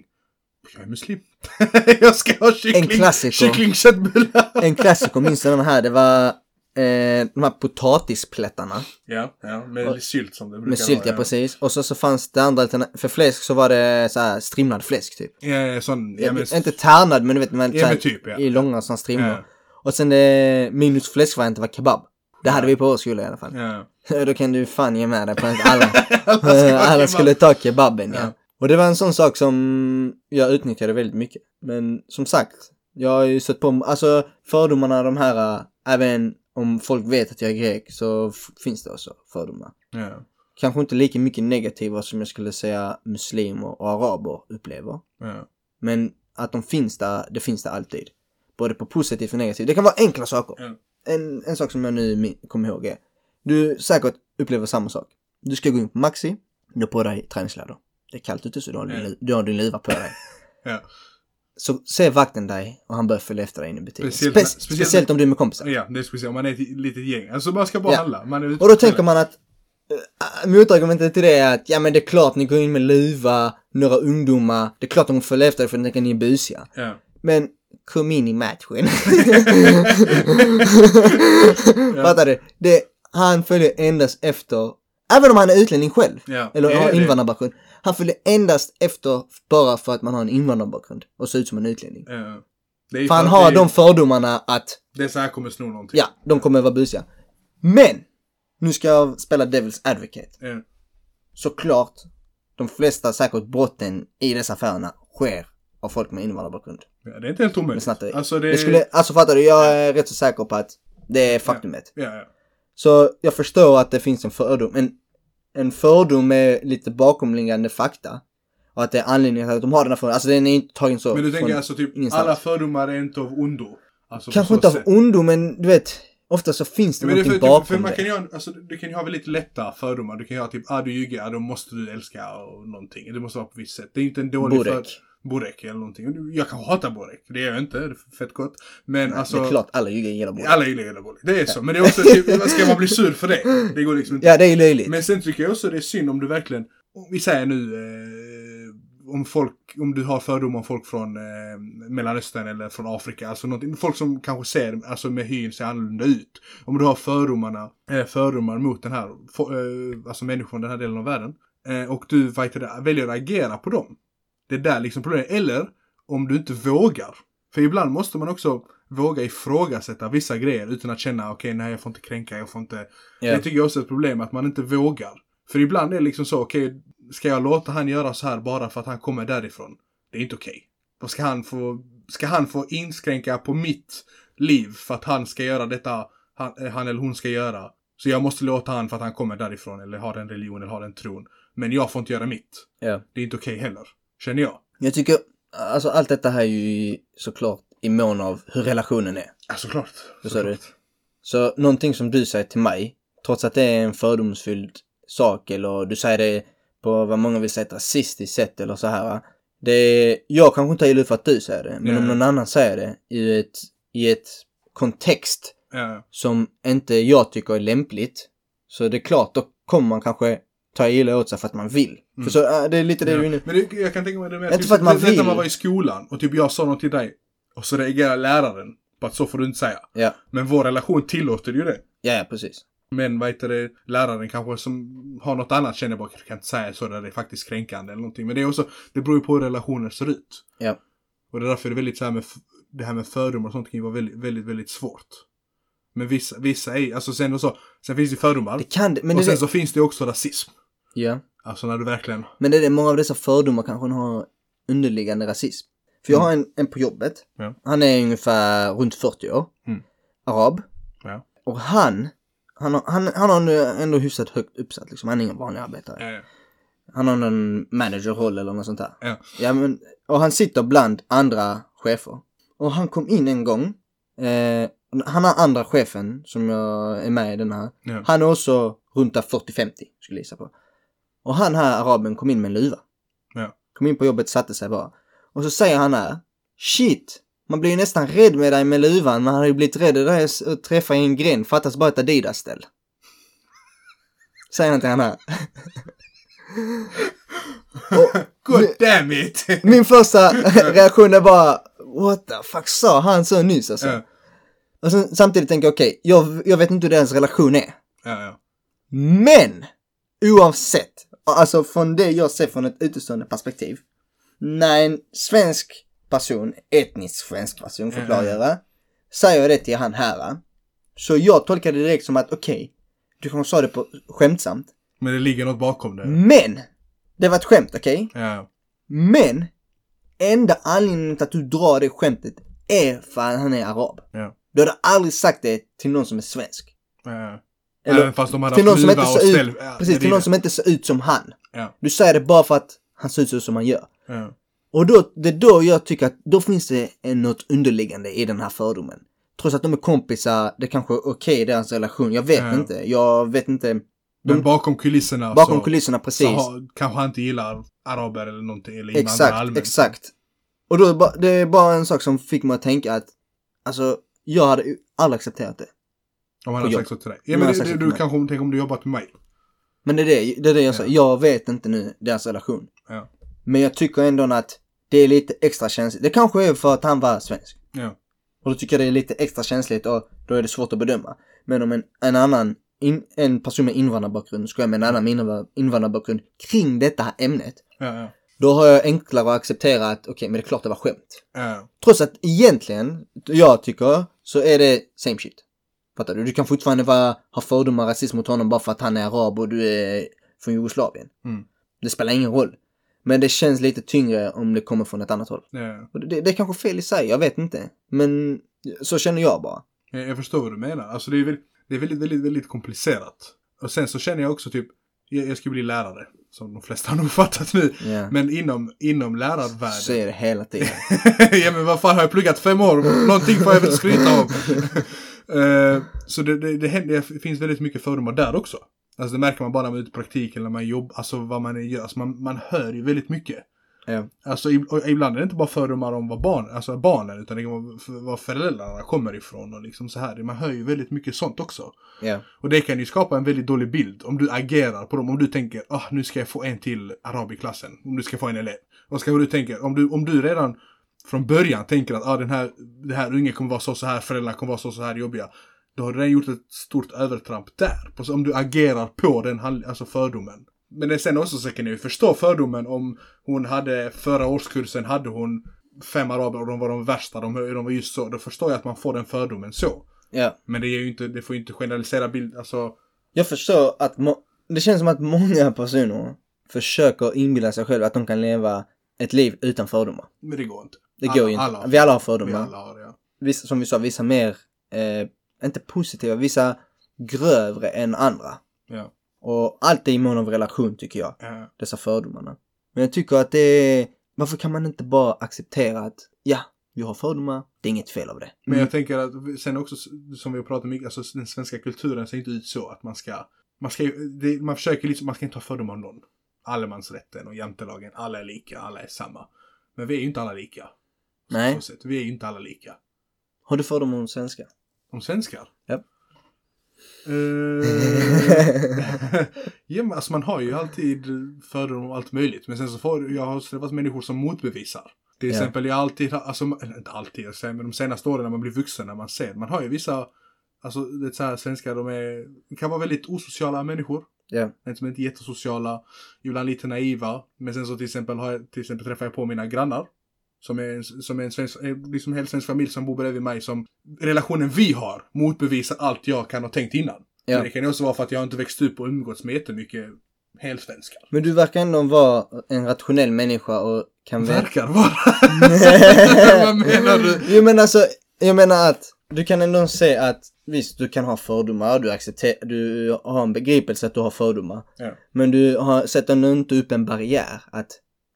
Jag är muslim. [LAUGHS] jag ska ha kyckling. En klassiker. Kycklingköttbullar. En klassiker, minns du den här? Det var eh, de här potatisplättarna. Ja, ja, med Och- sylt som det brukar Med sylt, vara. ja precis. Och så, så fanns det andra alternativ. För fläsk så var det så här strimlad fläsk typ. Ja, ja, sån, ja, Ja, men, inte tärnad men du vet, men, Ja, så här, men typ, ja. i långa sådana strimmor. Ja. Och sen eh, minus fläskvariant var kebab. Det hade vi på vår skola i alla fall. ja. Då kan du fan ge med dig [LAUGHS] på att [LAUGHS] alla, Alla ska ha alla kebab. skulle ta kebaben ja. Ja. Och det var en sån sak som jag utnyttjade väldigt mycket. Men som sagt, jag har ju sett på, alltså fördomarna de här, äh, även om folk vet att jag är grek så f- finns det också fördomar. Ja, Kanske inte lika mycket negativa som jag skulle säga muslimer och araber upplever. ja. Men att de finns där, det finns där alltid. Både på positivt och negativt. Det kan vara enkla saker. Mm. En, en sak som jag nu min- kommer ihåg är. Du säkert upplever samma sak. Du ska gå in på Maxi, du har på dig träningskläder. Det är kallt ute så du har din, Mm. li- du har din luva på dig. Ja. Så ser vakten dig och han börjar följa efter dig in i butiken. Speciellt, Speciellt- speciellt, om du är med kompisar. Ja, det skulle jag säga. Om man är ett litet gäng. Alltså man ska bara Ja. handla. Man är ute Och då på tänker kvällen. man att äh, motargumentet till det är att ja men det är klart ni går in med luva, några ungdomar, det är klart de följer efter er för ni tänker ni är busiga. Ja. Men kom in i [LAUGHS] matchen. [LAUGHS] Fattar du? Det, han följer endast efter, även om han är utlänning själv, Ja. eller Ja, har det- invandrarbakgrund. Han följer endast efter bara för att man har en invandrarbakgrund och ser ut som en utlänning. Ja. Det är För han fan- har det är- de fördomarna att, Det är så här kommer sno någonting. ja, de kommer vara busiga. Men! Nu ska jag spela Devil's Advocate. Ja. Såklart, de flesta säkert brotten i dessa affärerna sker av folk med invandrarbakgrund. Ja, det är inte helt Men omöjligt. snatteri. Alltså det... Det skulle, alltså fattar du, jag är rätt så säker på att det är faktumet. Ja, ja. Så jag förstår att det finns en fördom, en, en fördom med lite bakomliggande fakta. Och att det är anledningen till att de har den här fördomen. Alltså den är inte tagen så. Men du tänker från alltså typ, ingenstans. alla fördomar är inte av ondo. Alltså, på Kanske så inte av sätt. ondo, men du vet. Ofta så finns det Men det är någonting för, typ, för bakom man kan det. ju ha, en- alltså, du kan ju ha väldigt lätta fördomar. Du kan ju ha typ, ah du ljuger, ah, då måste du älska och någonting. Det måste vara på visst sätt. Det är ju inte en dålig Borek. för... Borek eller någonting. Och du- Jag kan hata borek. Det gör jag inte. Det är fett gott. Men alltså... Det är klart, alla ljuger gillar borek. Alla gillar hela bollen. Det är så. Men det är också typ, ska man bli sur för det? Det går liksom inte. Ja, det är ju löjligt. Men sen tycker jag också det är synd om du verkligen, om vi säger nu, eh, om folk, om du har fördomar om folk från eh, Mellanöstern eller från Afrika, alltså någonting, folk som kanske ser, alltså med hyn ser annorlunda ut. Om du har fördomarna, eh, fördomar mot den här, fo- eh, alltså människor från den här delen av världen, eh, och du vad heter det, väljer att agera på dem. Det är där liksom problemet, eller om du inte vågar. För ibland måste man också våga ifrågasätta vissa grejer utan att känna okej, nej jag får inte kränka, jag får inte Ja. det tycker jag också är ett problem, att man inte vågar. För ibland är det liksom så, okej, ska jag låta han göra så här bara för att han kommer därifrån? Det är inte okej. Vad Ska, han få- ska han få inskränka på mitt liv för att han ska göra detta han, eh, han eller hon ska göra? Så jag måste låta han för att han kommer därifrån eller har en religion eller har en tron. Men jag får inte göra mitt. Ja. Det är inte okej heller. Känner jag. Jag tycker, alltså allt detta här är ju såklart i mån av hur relationen är. Ja, såklart. Vad sa du? Såklart. Så någonting som du säger till mig, trots att det är en fördomsfylld sak eller du säger det på vad många vill säga ett rasistiskt sätt eller så här. va. Det är, jag kanske inte gillar för att du säger det, men om Nej. någon annan säger det i ett, i ett kontext Ja, som inte jag tycker är lämpligt, så det är klart, då kommer man kanske ta illa åt sig för att man vill. För så, äh, det är lite det du är inne Mm. Men det, jag kan tänka mig det med Inte för att man vet- vet när vill. man var i skolan och typ jag sa något till dig och så reagerar läraren på att så får du inte säga. Ja, Men vår relation tillåter ju det. ja, ja precis. Men vad heter det, läraren kanske som har något annat känner bara, jag kan inte säga så där det är faktiskt kränkande eller någonting. Men det är också, det beror ju på hur relationer ser ut. Ja. Och det är därför det är väldigt så här med, f- det här med fördomar och sånt kan ju vara väldigt, väldigt, väldigt svårt. Men vissa, vissa är, alltså sen och så, sen finns det fördomar. Det kan det, men det, och är sen det, så finns det ju också rasism. ja. Alltså när du verkligen, Men det är det, många av dessa fördomar kanske har underliggande rasism. För jag har en, en på jobbet. Mm. Ja. Han är ungefär runt 40 år. Mm. Arab. Ja. Och han, han har, han, han har nu ändå hyfsat högt uppsatt liksom. Han är ingen vanlig arbetare. eh, Han har någon managerroll eller något sånt där. Ja. Ja, men, och han sitter bland andra chefer. Och han kom in en gång. Eh, han har andra chefen som jag är med i den här. ja. Han är också runt där 40-50 skulle jag gissa på. Och han här araben kom in med en luva. Ja. Kom in på jobbet, satte sig bara. Och så säger han här. Shit! Man blir ju nästan rädd med dig med luvan. Man hade ju blivit rädd att rös- att träffa i en gren. Fattas bara ett Adidas-ställ. Säg någonting annat. God [LAUGHS] damn it! Min första reaktion är bara, what the fuck sa han så nyss alltså? ja, Och sen, samtidigt tänker jag, okej, jag, jag vet inte hur deras relation är. ja, ja. Men! Oavsett, alltså från det jag ser från ett utestående perspektiv. När en svensk person, etnisk svensk person får Mm. klargöra, säger det till han här. va? Så jag tolkar det direkt som att okej, du kanske sa det på skämtsamt. Men det ligger något bakom det. Men! Det var ett skämt, okej? Ja. Men! Enda anledningen till att du drar det skämtet är för att han är arab. Ja. Du hade aldrig sagt det till någon som är svensk. ja. Eller- Även fast de hade till någon haft som luva inte och ser ställ. ut, Ja, precis, det till är någon det. som inte ser ut som han. Ja. Du säger det bara för att han ser ut så som han gör. Ja. Och då, det är då jag tycker att då finns det en- något underliggande i den här fördomen. Trots att de är kompisar, det kanske är okej i deras relation, jag vet Ja. inte. Jag vet inte. Men De- bakom kulisserna Mm. Bakom så, kulisserna, så precis. har, kanske han inte gillar araber eller någonting. Eller invandrare Exakt, allmänt. exakt. Och då, är det bara- det är bara en sak som fick mig att tänka att, alltså, jag hade ju aldrig accepterat det. Om han På har jobb. sagt så till dig. Om Ja, han men har det, sagt det, så du till mig. kanske, tänk om du jobbat med mig. Men det är det, det, är det jag säger, Ja. jag vet inte nu deras relation. Ja. Men jag tycker ändå att det är lite extra känsligt. Det kanske är för att han var svensk. Ja. Och då tycker jag det är lite extra känsligt och då är det svårt att bedöma. Men om en, en annan, in, en person med invandrarbakgrund skojar med en annan med invandrar- invandrarbakgrund kring detta här ämnet. Ja, ja. Då har jag enklare att acceptera att okej, men det är klart det var skämt. Ja. Trots att egentligen, jag tycker, så är det same shit. Fattar du? Du kan fortfarande vara, ha fördomar och rasism mot honom bara för att han är arab och du är från Jugoslavien. Mm. Det spelar ingen roll. Men det känns lite tyngre om det kommer från ett annat håll. Ja. Och det, det är kanske fel i sig, jag vet inte. Men så känner jag bara. Jag, jag förstår vad du menar. Alltså det är, väl, det är väldigt, väldigt, väldigt komplicerat. Och sen så känner jag också typ, jag, jag ska bli lärare. Som de flesta har nog [LAUGHS] fattat nu. Ja. Men inom, inom lärarvärlden. Säger det hela tiden. [LAUGHS] [LAUGHS] ja men vad fan har jag pluggat fem år? Någonting får jag väl skryta om. [LAUGHS] Eh, så det, det, det, händer, det finns väldigt mycket fördomar där också. Alltså det märker man bara när man är ute i praktik eller när man jobbar, alltså vad man gör. Alltså man, man hör ju väldigt mycket. Ja. Alltså ib- och ibland är det inte bara fördomar om vad barn, alltså barnen, utan det kan vara f- var föräldrarna kommer ifrån och liksom så här. Man hör ju väldigt mycket sånt också. ja. Och det kan ju skapa en väldigt dålig bild om du agerar på dem. Om du tänker ah, nu ska jag få en till arab i klassen. Om du ska få en elev. Och ska du tänker, om du, om du redan från början tänker att ah, den här, den här ungen kommer vara så så här, föräldrarna kommer vara så så här jobbiga. Då har du redan gjort ett stort övertramp där. Och så om du agerar på den handl- alltså fördomen. Men det är sen också så kan jag ju förstå fördomen om hon hade, förra årskursen hade hon fem araber och de var de värsta, de, de var just så. Då förstår jag att man får den fördomen så. ja. Men det, är ju inte, det får ju inte generalisera bild, alltså Jag förstår att må- det känns som att många personer försöker inbilla sig själva att de kan leva ett liv utan fördomar. Men det går inte. Det Alla- går ju inte. alla har vi alla har Vi fördomar. alla har det, ja. Vissa, som vi sa, vissa mer, eh, inte positiva, vissa grövre än andra. Ja. Och allt är i mån av relation tycker jag, Eh, dessa fördomarna. Men jag tycker att det är, varför kan man inte bara acceptera att, ja, vi har fördomar, det är inget fel av det. Men jag tänker att vi- sen också, s- som vi har pratat mycket, alltså s- den svenska kulturen ser inte ut så att man ska, man ska ju- det, man försöker liksom, man ska inte ha fördomar om någon. Allemansrätten och jantelagen, alla är lika, alla är samma. Men vi är ju inte alla lika. Nej. Så sett, vi är ju inte alla lika. Har du fördomar om svenskar? Om svenskar? Japp. Eh, [LAUGHS] ja, men alltså man har ju alltid fördomar om allt möjligt. Men sen så får jag har träffat människor som motbevisar. Till Ja. exempel jag har alltid, alltså, eller inte alltid, jag säger, men de senaste åren när man blir vuxen, när man ser, man har ju vissa, alltså det är så här, svenskar, de är, kan vara väldigt osociala människor. Ja. Men som inte är jättesociala, ibland lite naiva. Men sen så till exempel, har jag, till exempel träffar jag på mina grannar. Som är en, som är en svensk, eh, liksom en hel svensk familj som bor bredvid mig som relationen vi har motbevisar allt jag kan ha tänkt innan. Ja. Men det kan ju också vara för att jag inte växt upp och umgåtts med jättemycket helsvenskar. Men du verkar ändå vara en rationell människa och kan veta- [LAUGHS] Verkar vara. [LAUGHS] Vad menar du? Jo men alltså, jag menar att du kan ändå se att visst, du kan ha fördomar, du, accepter- du har en begripelse att du har fördomar. Ja. Men du har, sätter ändå inte upp en barriär att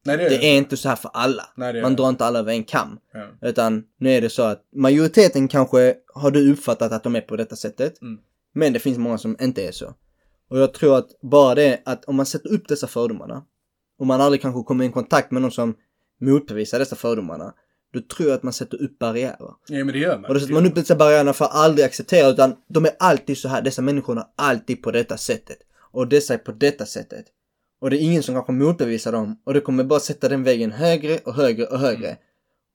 Nej, det är det är inte så här för alla. Nej, det är Man det. drar inte alla över en kam. Ja. Utan nu är det så att majoriteten kanske har du uppfattat att de är på detta sättet. Mm. Men det finns många som inte är så. Och jag tror att bara det att om man sätter upp dessa fördomarna och man aldrig kanske kommer i kontakt med någon som motbevisar dessa fördomarna. då tror jag att man sätter upp barriärer. Ja, men det gör man. Och då sätter man upp dessa barriärerna för att aldrig acceptera utan de är alltid så här. Dessa människor är alltid på detta sättet. Och dessa är på detta sättet. Och det är ingen som kanske motbevisar dem. Och det kommer bara sätta den vägen högre och högre och högre. Mm.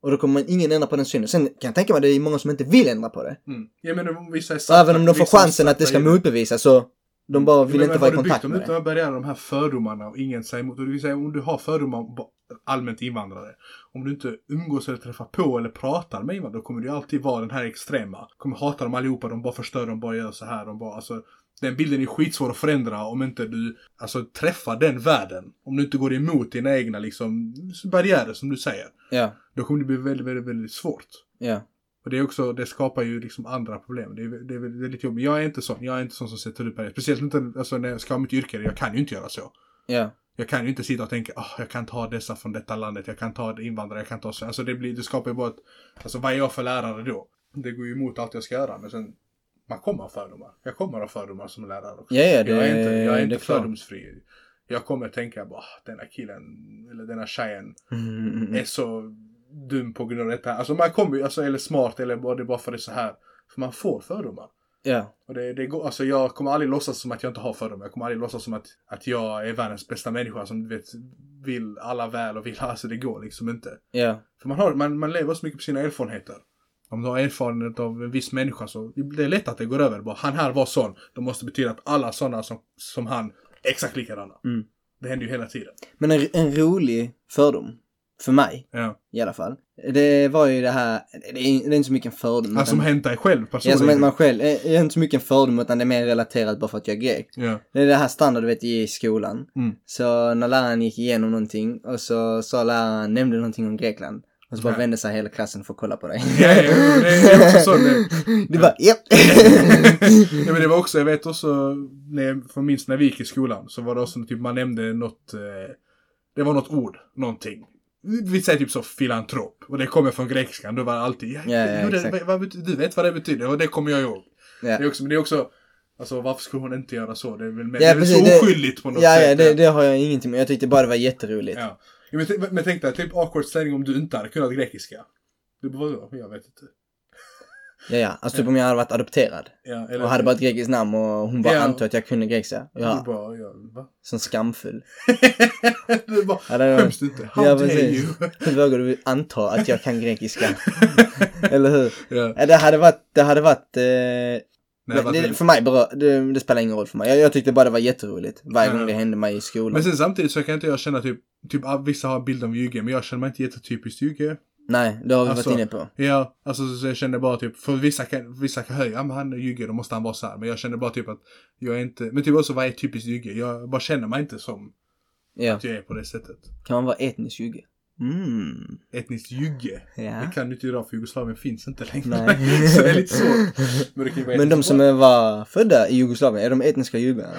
Och då kommer man ingen ändra på den synen. Sen kan jag tänka mig att det är många som inte vill ändra på det. Mm. Jag menar, vissa är Och satta- även om de får vissa är chansen att det ska satta i- Mm. motbevisas så de bara Jag vill menar, inte vara i har du kontakt byggt med dem det. utan att börja de här fördomarna och ingen säger emot. Och det vill säga om du har fördomar om ba- allmänt invandrare. Om du inte umgås eller träffar på eller pratar med invandrare. Då kommer du alltid vara den här extrema. Kommer hata dem allihopa. De bara förstör. De bara gör så här. De bara alltså. Den bilden är skitsvår att förändra om inte du alltså, träffar den världen. Om du inte går emot dina egna liksom, barriärer som du säger. Ja, Då kommer det bli väldigt, väldigt, väldigt svårt. ja. Och det är också, det skapar ju liksom andra problem. Det är, det är väl- det är lite jobbigt. Jag är inte sån. Jag är inte sån som sätter upp det. Speciellt inte alltså, när jag ska ha mitt yrke. Jag kan ju inte göra så. Ja, Jag kan ju inte sitta och tänka, ah jag kan ta dessa från detta landet. Jag kan ta invandrare. Jag kan ta så. Alltså det, blir, det skapar ju bara ett, alltså vad är jag för lärare då? Det går ju emot allt jag ska göra. Men sen, man kommer ha fördomar. Jag kommer ha fördomar som lärare också. ja, ja det, jag är inte, jag är det inte är klart. fördomsfri. Jag kommer tänka, bara, "Ah, denna killen, eller denna tjejen Mm, mm, är mm. så dum på grund av detta. Alltså man kommer ju, alltså, eller smart eller bara det är bara för det är så här. För man får fördomar. Ja, Och det, det går, alltså jag kommer aldrig låtsas som att jag inte har fördomar. Jag kommer aldrig låtsas som att, att jag är världens bästa människa som du vet, vill alla väl och vill, [LAUGHS] alltså det går liksom inte. ja, För man, har, man, man lever så mycket på sina erfarenheter. Om du har erfarenhet av en viss människa så det är lätt att det går över. Bara, han här var sån. Det måste betyda att alla sådana som, som han är exakt likadana. Mm. Det händer ju hela tiden. Men en, en rolig fördom, för mig Ja. i alla fall, det var ju det här, det är, det är inte så mycket en fördom. Alltså som utan, hänt dig själv ja, som personligen. händer man själv. Det är inte så mycket en fördom utan det är mer relaterat bara för att jag är grek. ja. Det är det här standard du vet i skolan. Mm. Så när läraren gick igenom någonting och så sa läraren, nämnde någonting om Grekland. Och så bara Ja. vände sig hela klassen för att kolla på dig. Ja, ja, ja, det är också så det- [LAUGHS] Du bara, japp. ja, men det var också, jag vet också, när jag, för minst när vi gick i skolan så var det också typ man nämnde något, eh, det var något ord, någonting. Vi- Vi säger typ så filantrop och det kommer från grekiskan, då var det alltid, ja, Ja, ja, jo, det, exakt. vad, bety- du vet vad det betyder och det kommer jag ihåg. Ja. Det är också, men det är också, alltså varför skulle hon inte göra så? Det är väl, mer- Ja, det är väl precis, så det- oskyldigt på något ja, sätt. ja, det, det har jag ingenting med. Jag tyckte bara det var jätteroligt. Ja. Ja, Men, t- men tänk dig, typ awkward ställning om du inte hade kunnat grekiska. Du bara, vadå? Jag vet inte. Ja, ja. Alltså typ om jag hade varit adopterad. Ja, eller, typ- Och hade bara ett grekiskt namn och hon bara Ja. antog att jag kunde grekiska. Du Ja, bara, ja, va? [LAUGHS] som skamfull. du bara, Ja, det var- skäms du inte? [LAUGHS] How ja, dare precis. [LAUGHS] you? Hur vågar du anta att jag kan [LAUGHS] grekiska? Eller hur? Ja. Ja, det hade varit, det hade varit, eh, Nej, Men vad det, roligt. för mig berör, det, det spelar ingen roll för mig. Jag, jag tyckte bara det var jätteroligt varje Ja. gång det hände mig i skolan. men sen samtidigt så kan inte jag känna typ, typ ah, vissa har bilden av Jugge, men jag känner mig inte jättetypiskt Jugge. Nej, det har vi Alltså, varit inne på. Ja, alltså så så jag känner bara typ, för vissa kan, vissa kan höja, ja men han är Jugge, då måste han vara så här. Men jag känner bara typ att jag är inte, men typ också vad är typiskt Jugge? Jag bara känner mig inte som Ja. att jag är på det sättet. Kan man vara etnisk jugge? Mm. Etniskt Jugge. Ja. Det kan du inte idag för Jugoslavien finns inte längre. Nej. [LAUGHS] så det är lite svårt. Men, det kan ju vara Men de etniskt som bra. är- var födda i Jugoslavien, är de etniska judar?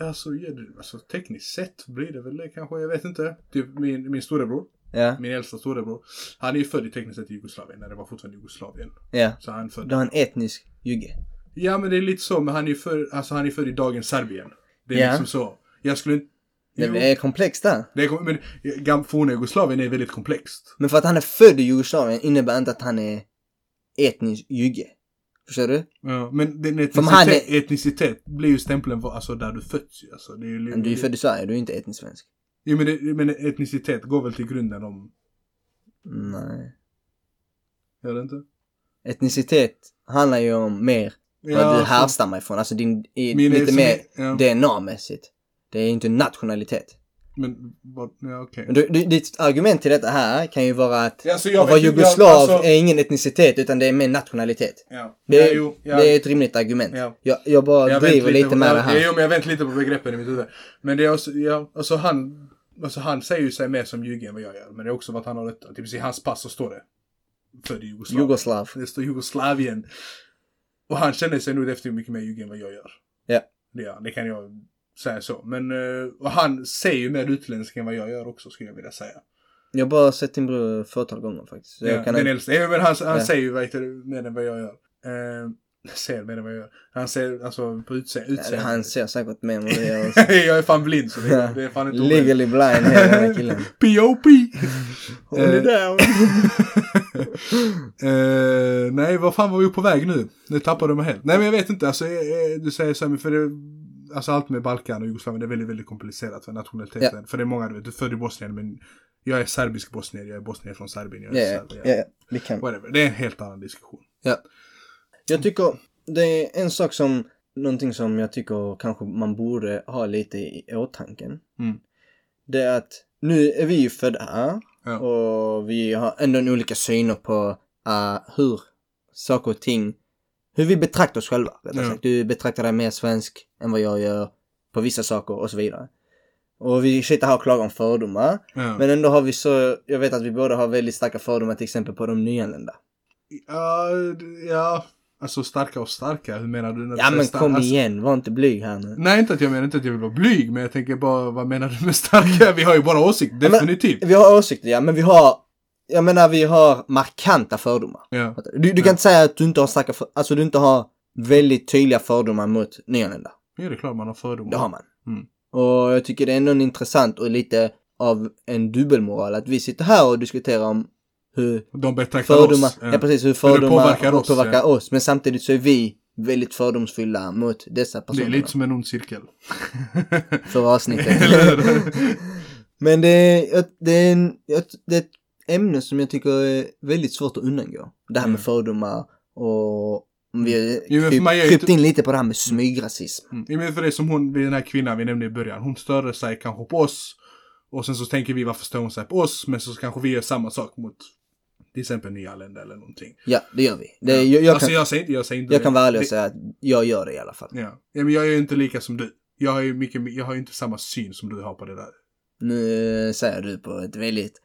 Alltså, ja, det- alltså tekniskt sett blir det väl det kanske, jag vet inte. Typ min, min storebror. Ja, Min äldsta storebror, han är ju född i tekniskt sett i Jugoslavien, när det var fortfarande Jugoslavien. ja. Så han är född... Du har en etnisk jugge. Ja men det är lite så, men han är ju född, alltså han är född i dagens Serbien. Det är Ja. liksom så. Jag skulle inte... Det Jo, det är komplext där. det är, kom- men gam- forna Jugoslavien är väldigt komplext. Men för att han är född i Jugoslavien innebär inte att han är etnisk jugge. Förstår du? Ja, men den För han etnicitet, är- etnicitet blir ju stämpeln för, alltså där du föds ju. Alltså, det är ju, Men du är ju född i Sverige, du är inte etnisk svensk. Jo men, det, men etnicitet går väl till grunden om... Nej. Gör det inte? Etnicitet handlar ju om mer vad du alltså, härstammar ifrån. Alltså din, i, min- lite som- mer Ja, DNA-mässigt. Det är inte nationalitet. men, vad, ja okej. Men du, du, ditt argument till detta här kan ju vara att Alltså, jag att vara vet inte, jag- jugoslav alltså- är ingen etnicitet utan det är mer nationalitet. Ja. Det, ja, är- jo, ja. det är ett rimligt argument. Ja. Jag, jag bara Jag driver väntar lite, med på, det här. Ja, jo, men jag väntar lite på begreppen i mitt huvud. Men det är också, ja, alltså han, alltså han säger ju sig mer som jugge än vad jag gör. Men det är också vad han har rätt Typ i hans pass så står det. Född i Jugoslavien. Jugoslav. Det står Jugoslavien. Och han känner sig nog definitivt mycket mer jugge än vad jag gör. Ja. Det, gör han, det kan jag säga så. Men, eh, och han säger ju mer utländsk än vad jag gör också skulle jag vilja säga. Jag har bara sett din bror ett fåtal gånger faktiskt. Så Ja, jag kan den inte- äldsta. Ja, men han, han Ja. säger ju vet du, mer än vad jag gör. Eh, Ser mer än vad jag gör. Han ser, alltså på utse- Eller, utseende. han ser säkert mer än vad vi [LAUGHS] gör. jag är fan blind så det, det är fan inte omöjligt. Legally blind hela den här [LAUGHS] killen. P.O.P. Eh, down. Eh, nej, vad fan var vi på väg nu? Nu tappade jag mig helt. Nej, men jag vet inte. Alltså, eh, eh, du säger så här, men för det, alltså allt med Balkan och Jugoslavien det är väldigt, väldigt komplicerat för nationaliteten. För det är många, du vet, du är född i Bosnien, men jag är serbisk bosnier, jag är bosnier från Serbien, jag är Ja, serb, ja, jag- ja, vi kan. Whatever. Det är en helt annan diskussion. Ja. Jag tycker det är en sak som, någonting som jag tycker kanske man borde ha lite i åtanke. Mm. Det är att nu är vi ju födda här Ja. och vi har ändå en olika syner på eh, hur saker och ting, hur vi betraktar oss själva. rättare Ja. sagt. Du betraktar dig mer svensk än vad jag gör på vissa saker och så vidare. Och vi sitter här och klagar om fördomar. Ja. Men ändå har vi så, jag vet att vi båda har väldigt starka fördomar till exempel på de nyanlända. Ja, d- ja, alltså starka och starka, hur menar du? När du Ja säger men star- kom alltså- igen, var inte blyg här nu. Nej, inte att jag menar inte att jag vill vara blyg, men jag tänker bara, vad menar du med starka? Vi har ju bara åsikt, men- definitivt. Vi har åsikter ja, men vi har, jag menar vi har markanta fördomar. Ja. Du, du kan inte säga att du inte har starka, för, alltså du inte har väldigt tydliga fördomar mot nyanlända. ja, det är klart man har fördomar. Det har man. Mm. Och jag tycker det är ändå en intressant och lite av en dubbelmoral att vi sitter här och diskuterar om hur De betraktar fördomar, oss. ja. ja. precis, hur Hur det fördomar påverkar påverkar, oss, oss, påverkar ja. oss. Men samtidigt så är vi väldigt fördomsfulla mot dessa Det är personer. lite som en ond cirkel. [LAUGHS] Förra avsnittet. Eller [LAUGHS] Men det är, ett- det, är en, ett- det är ett ämne som jag tycker är väldigt svårt att undangå. Det här med Mm. fördomar och vi Jo, har men för mig är kryp, ju krypt inte- in lite på det här med smygrasism. Mm. Men för det är som hon, den här kvinnan vi nämnde i början. Hon störde sig kanske på oss. Och sen så tänker vi varför stör hon sig på oss? Men så kanske vi gör samma sak mot till exempel nyanlända eller någonting. Ja, det gör vi. Det, ja. jag, jag, alltså kan, jag, jag säger inte, jag säger inte det. kan vara ärlig och Det- säga att jag gör det i alla fall. Ja. ja, men jag är ju inte lika som du. Jag har ju mycket, jag har ju inte samma syn som du har på det där. Nu säger du på ett väldigt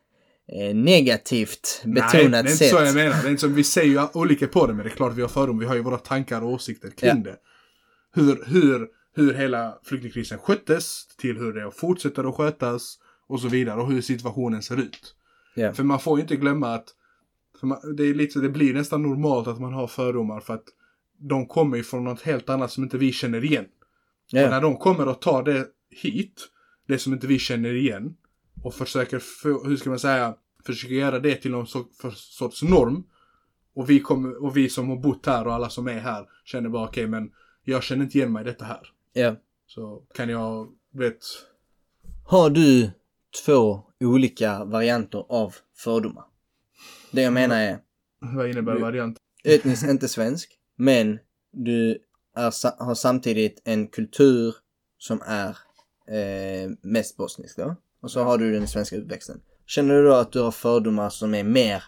eh, negativt betonat Nej, det är inte sätt. så jag menar. Det är inte så, vi ser ju olika på det, men det är klart vi har fördomar. Vi har ju våra tankar och åsikter kring Ja. det. Hur, hur, hur hela flyktingkrisen sköttes, till hur det fortsätter att skötas och så vidare. Och hur situationen ser ut. Ja. För man får ju inte glömma att för man, det, är lite, det blir nästan normalt att man har fördomar för att de kommer ju från något helt annat som inte vi känner igen. Ja. Och när de kommer och tar det hit, det som inte vi känner igen, och försöker, få, hur ska man säga, försöker göra det till någon so- för- sorts norm. Och vi, kommer, och vi som har bott här och alla som är här känner bara okej, men jag känner inte igen mig i detta här. Ja. Så kan jag, vet, Har du två olika varianter av fördomar? Det jag menar är vad innebär Du- variant? etniskt inte svensk, men du är, sa- har samtidigt en kultur som är eh, mest bosnisk då. Och så har du den svenska uppväxten. Känner du då att du har fördomar som är mer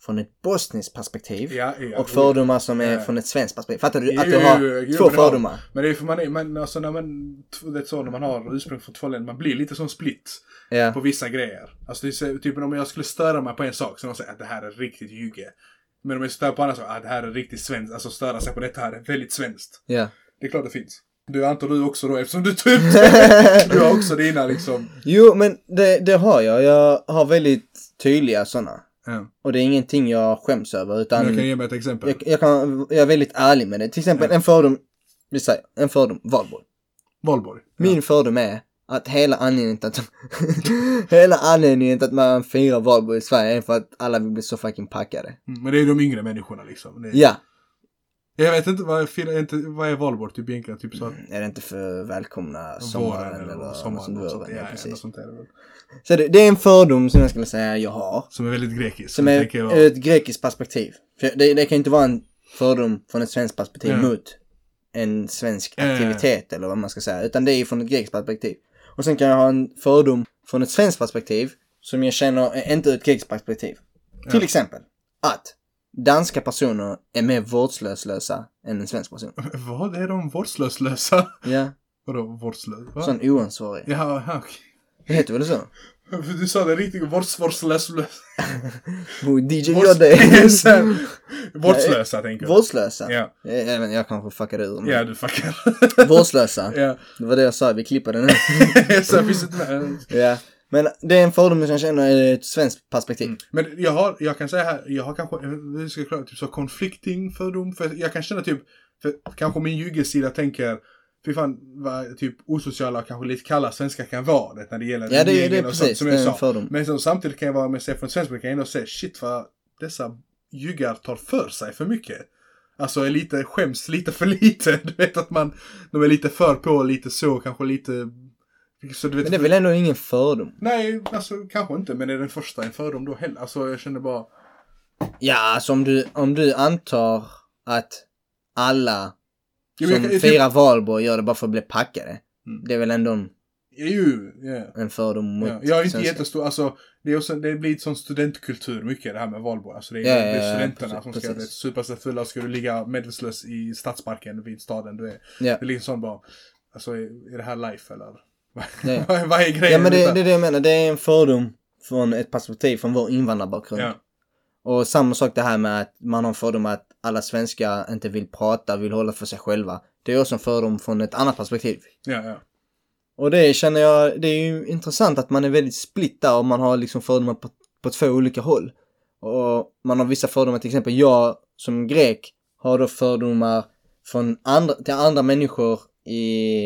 från ett bosniskt perspektiv? Ja, ja. Och fördomar som är Ja. från ett svenskt perspektiv. Fattar du? Jo, Att jo, du jo, har jo, jo, två men det har- fördomar. Men det är för man är, men alltså när man, det är så när man har ursprung från två länder, man blir lite som split. på Ja. vissa grejer. Alltså det är så- typ om jag skulle störa mig på en sak så de säger att det här är riktigt ljuge. Men om jag stör på andra saker, att det här är riktigt svenskt. Alltså störa sig på detta här är väldigt svenskt. ja. Det är klart det finns. Du antar du också då eftersom du tog upp [LAUGHS] det. Du har också dina liksom. Jo, men det, det har jag. Jag har väldigt tydliga sådana. Ja. Och det är ingenting jag skäms över utan... Men jag kan ge mig ett exempel. Jag, jag, kan, jag är väldigt ärlig med det. Till exempel Ja. en fördom, vi säger, en fördom, valborg. Valborg. Min fördom är att hela anledningen till att, [LAUGHS] hela anledningen till att man firar valborg i Sverige är för att alla vill bli så fucking packade. Ja. Mm, Men det är de yngre människorna liksom. Det är, Ja, Jag vet inte vad, jag firar- inte vad är Valborg typ egentligen? Typ så att är det inte för välkomna Mm. sommaren våren eller, eller något sommaren. sånt, och sånt. våren, ja, Ja, ja, något precis. sånt är det väl. Så det, det är en fördom som jag skulle säga jag har. Som är väldigt grekiskt. Som Jag är eh, tänker jag- ur ett grekiskt perspektiv. För det, det kan ju inte vara en fördom från ett svenskt perspektiv Ja. mot en svensk Ja, ja, ja. aktivitet eller vad man ska säga. Utan det är ju från ett grekiskt perspektiv. Och sen kan jag ha en fördom från ett svenskt perspektiv som jag känner är inte ur ett grekiskt perspektiv. Till exempel att danska personer är mer vårdslöslösa än en svensk [LAUGHS] person. Vad är de vårdslöslösa? Ja, [LAUGHS] Vadå vårdslösa? Va? sån oansvarig. Ja, ja, okej. Det heter väl så? [LAUGHS] För du sa det riktigt vårdslöslösa. Oh, DJ gör det. [LAUGHS] Vårdslösa tänker jag. Vårdslösa? Ja. Även jag kanske fuckade ur. men- Ja, du fuckar. Vårdslösa. [LAUGHS] ja. Det var det jag sa, vi klipper den nu. Så jag visste inte med. ja. Men det är en fördom som jag känner ur ett svenskt perspektiv. Men jag har, jag kan säga här, jag har kanske, jag ska klara, typ så conflicting fördom, för jag kan känna typ, för kanske min juggesida tänker, fy fan vad typ osociala och kanske lite kalla svenskar kan vara det när det gäller Ja, det, det, det är regleringar och sånt precis. som Det jag är en sa. fördom. Men så, samtidigt kan jag vara med sig från svensk men kan jag ändå säga shit vad dessa juggar tar för sig för mycket. Alltså är lite, skäms lite för lite. [LAUGHS] Du vet att man, de är lite för på, lite så, kanske lite... Så du vet, Men det är väl ändå ingen fördom? Nej, alltså kanske inte, men är den första en fördom då heller? Alltså jag känner bara... Ja, alltså om du, om du antar att alla Jo, men som jag kan- jag firar valborg gör det bara för att bli packade. Mm. Det är väl ändå en, Ju, ja. en fördom mot Ja, jag är inte svenskar. jättestor, alltså det, är också, det blir ett sån studentkultur mycket det här med valborg. Alltså det är, Ja, det ja, är ja, studenterna precis, som ska precis. bli supa sig fulla och ska du ligga medvetslös i stadsparken vid staden du är. Ja. Det är liksom sån bara, alltså är, är det här life eller? [LAUGHS] Ja. Vad är- Vad är grejen? Ja men det, med det är det [LAUGHS] jag menar, det är en fördom från ett perspektiv från vår invandrarbakgrund. Ja. Och samma sak det här med att man har en fördom att alla svenskar inte vill prata, vill hålla för sig själva. Det är också en fördom från ett annat perspektiv. Ja, ja. Och det känner jag, det är ju intressant att man är väldigt splitt där och man har liksom fördomar på, på två olika håll. Och man har vissa fördomar, till exempel jag som grek har då fördomar från andra, till andra människor i,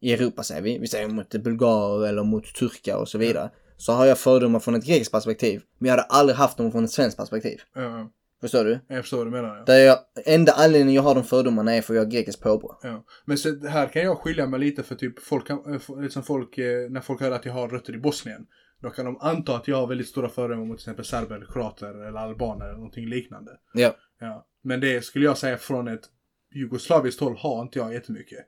i Europa säger vi. Vi säger mot bulgarer eller mot turkar och så vidare. Så har jag fördomar från ett grekiskt perspektiv. Men jag hade aldrig haft dem från ett svenskt perspektiv. ja, ja. Förstår du? Jag förstår vad du menar. Ja. Där jag, enda anledningen jag har de fördomarna är för att jag har grekiskt påbrå. Ja. Men så, här kan jag skilja mig lite för typ folk, kan, eh, liksom folk, eh, när folk hör att jag har rötter i Bosnien. Då kan de anta att jag har väldigt stora fördomar mot till exempel serber, kroater eller albaner eller någonting liknande. Ja. Ja. Men det skulle jag säga från ett jugoslaviskt håll har inte jag jättemycket.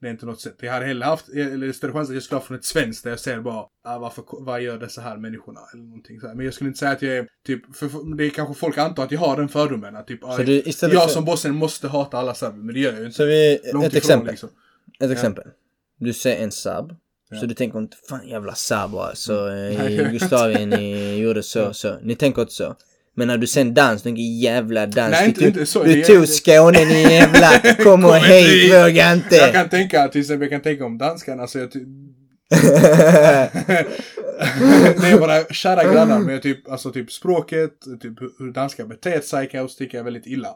Det är inte något sätt. Jag hade heller haft, eller större chans att jag skulle ha från ett svenskt där jag ser bara, ah, varför, vad gör dessa här människorna? Eller någonting så här. Men jag skulle inte säga att jag är, typ, för- för det är kanske folk antar att jag har den fördomen. Att typ, ah, Så du, istället jag för, som bosnier måste hata alla serber, men det gör jag ju inte. Så vi, ett Långt ifrån, exempel. liksom. Ett exempel. Du ser en sab. Ja. Mm. Så du tänker inte, fan jävla sabbar alltså. eh, Nej, jag I vet. Jugoslavien [LAUGHS] ni gjorde så, så. Ni tänker inte så. Men när du sen dans, tänker jävla dans. Nej, du inte- tog, inte så. Du Det är- tog Skåne ni [LAUGHS] jävla, kom och Kom hej, hit. våga Jag inte. kan tänka, till exempel, jag kan tänka om danskarna, så jag ty- [LAUGHS] det är bara [LAUGHS] kära grannar med typ, alltså typ språket, typ hur- hur danskar beter sig kan jag sticka väldigt illa.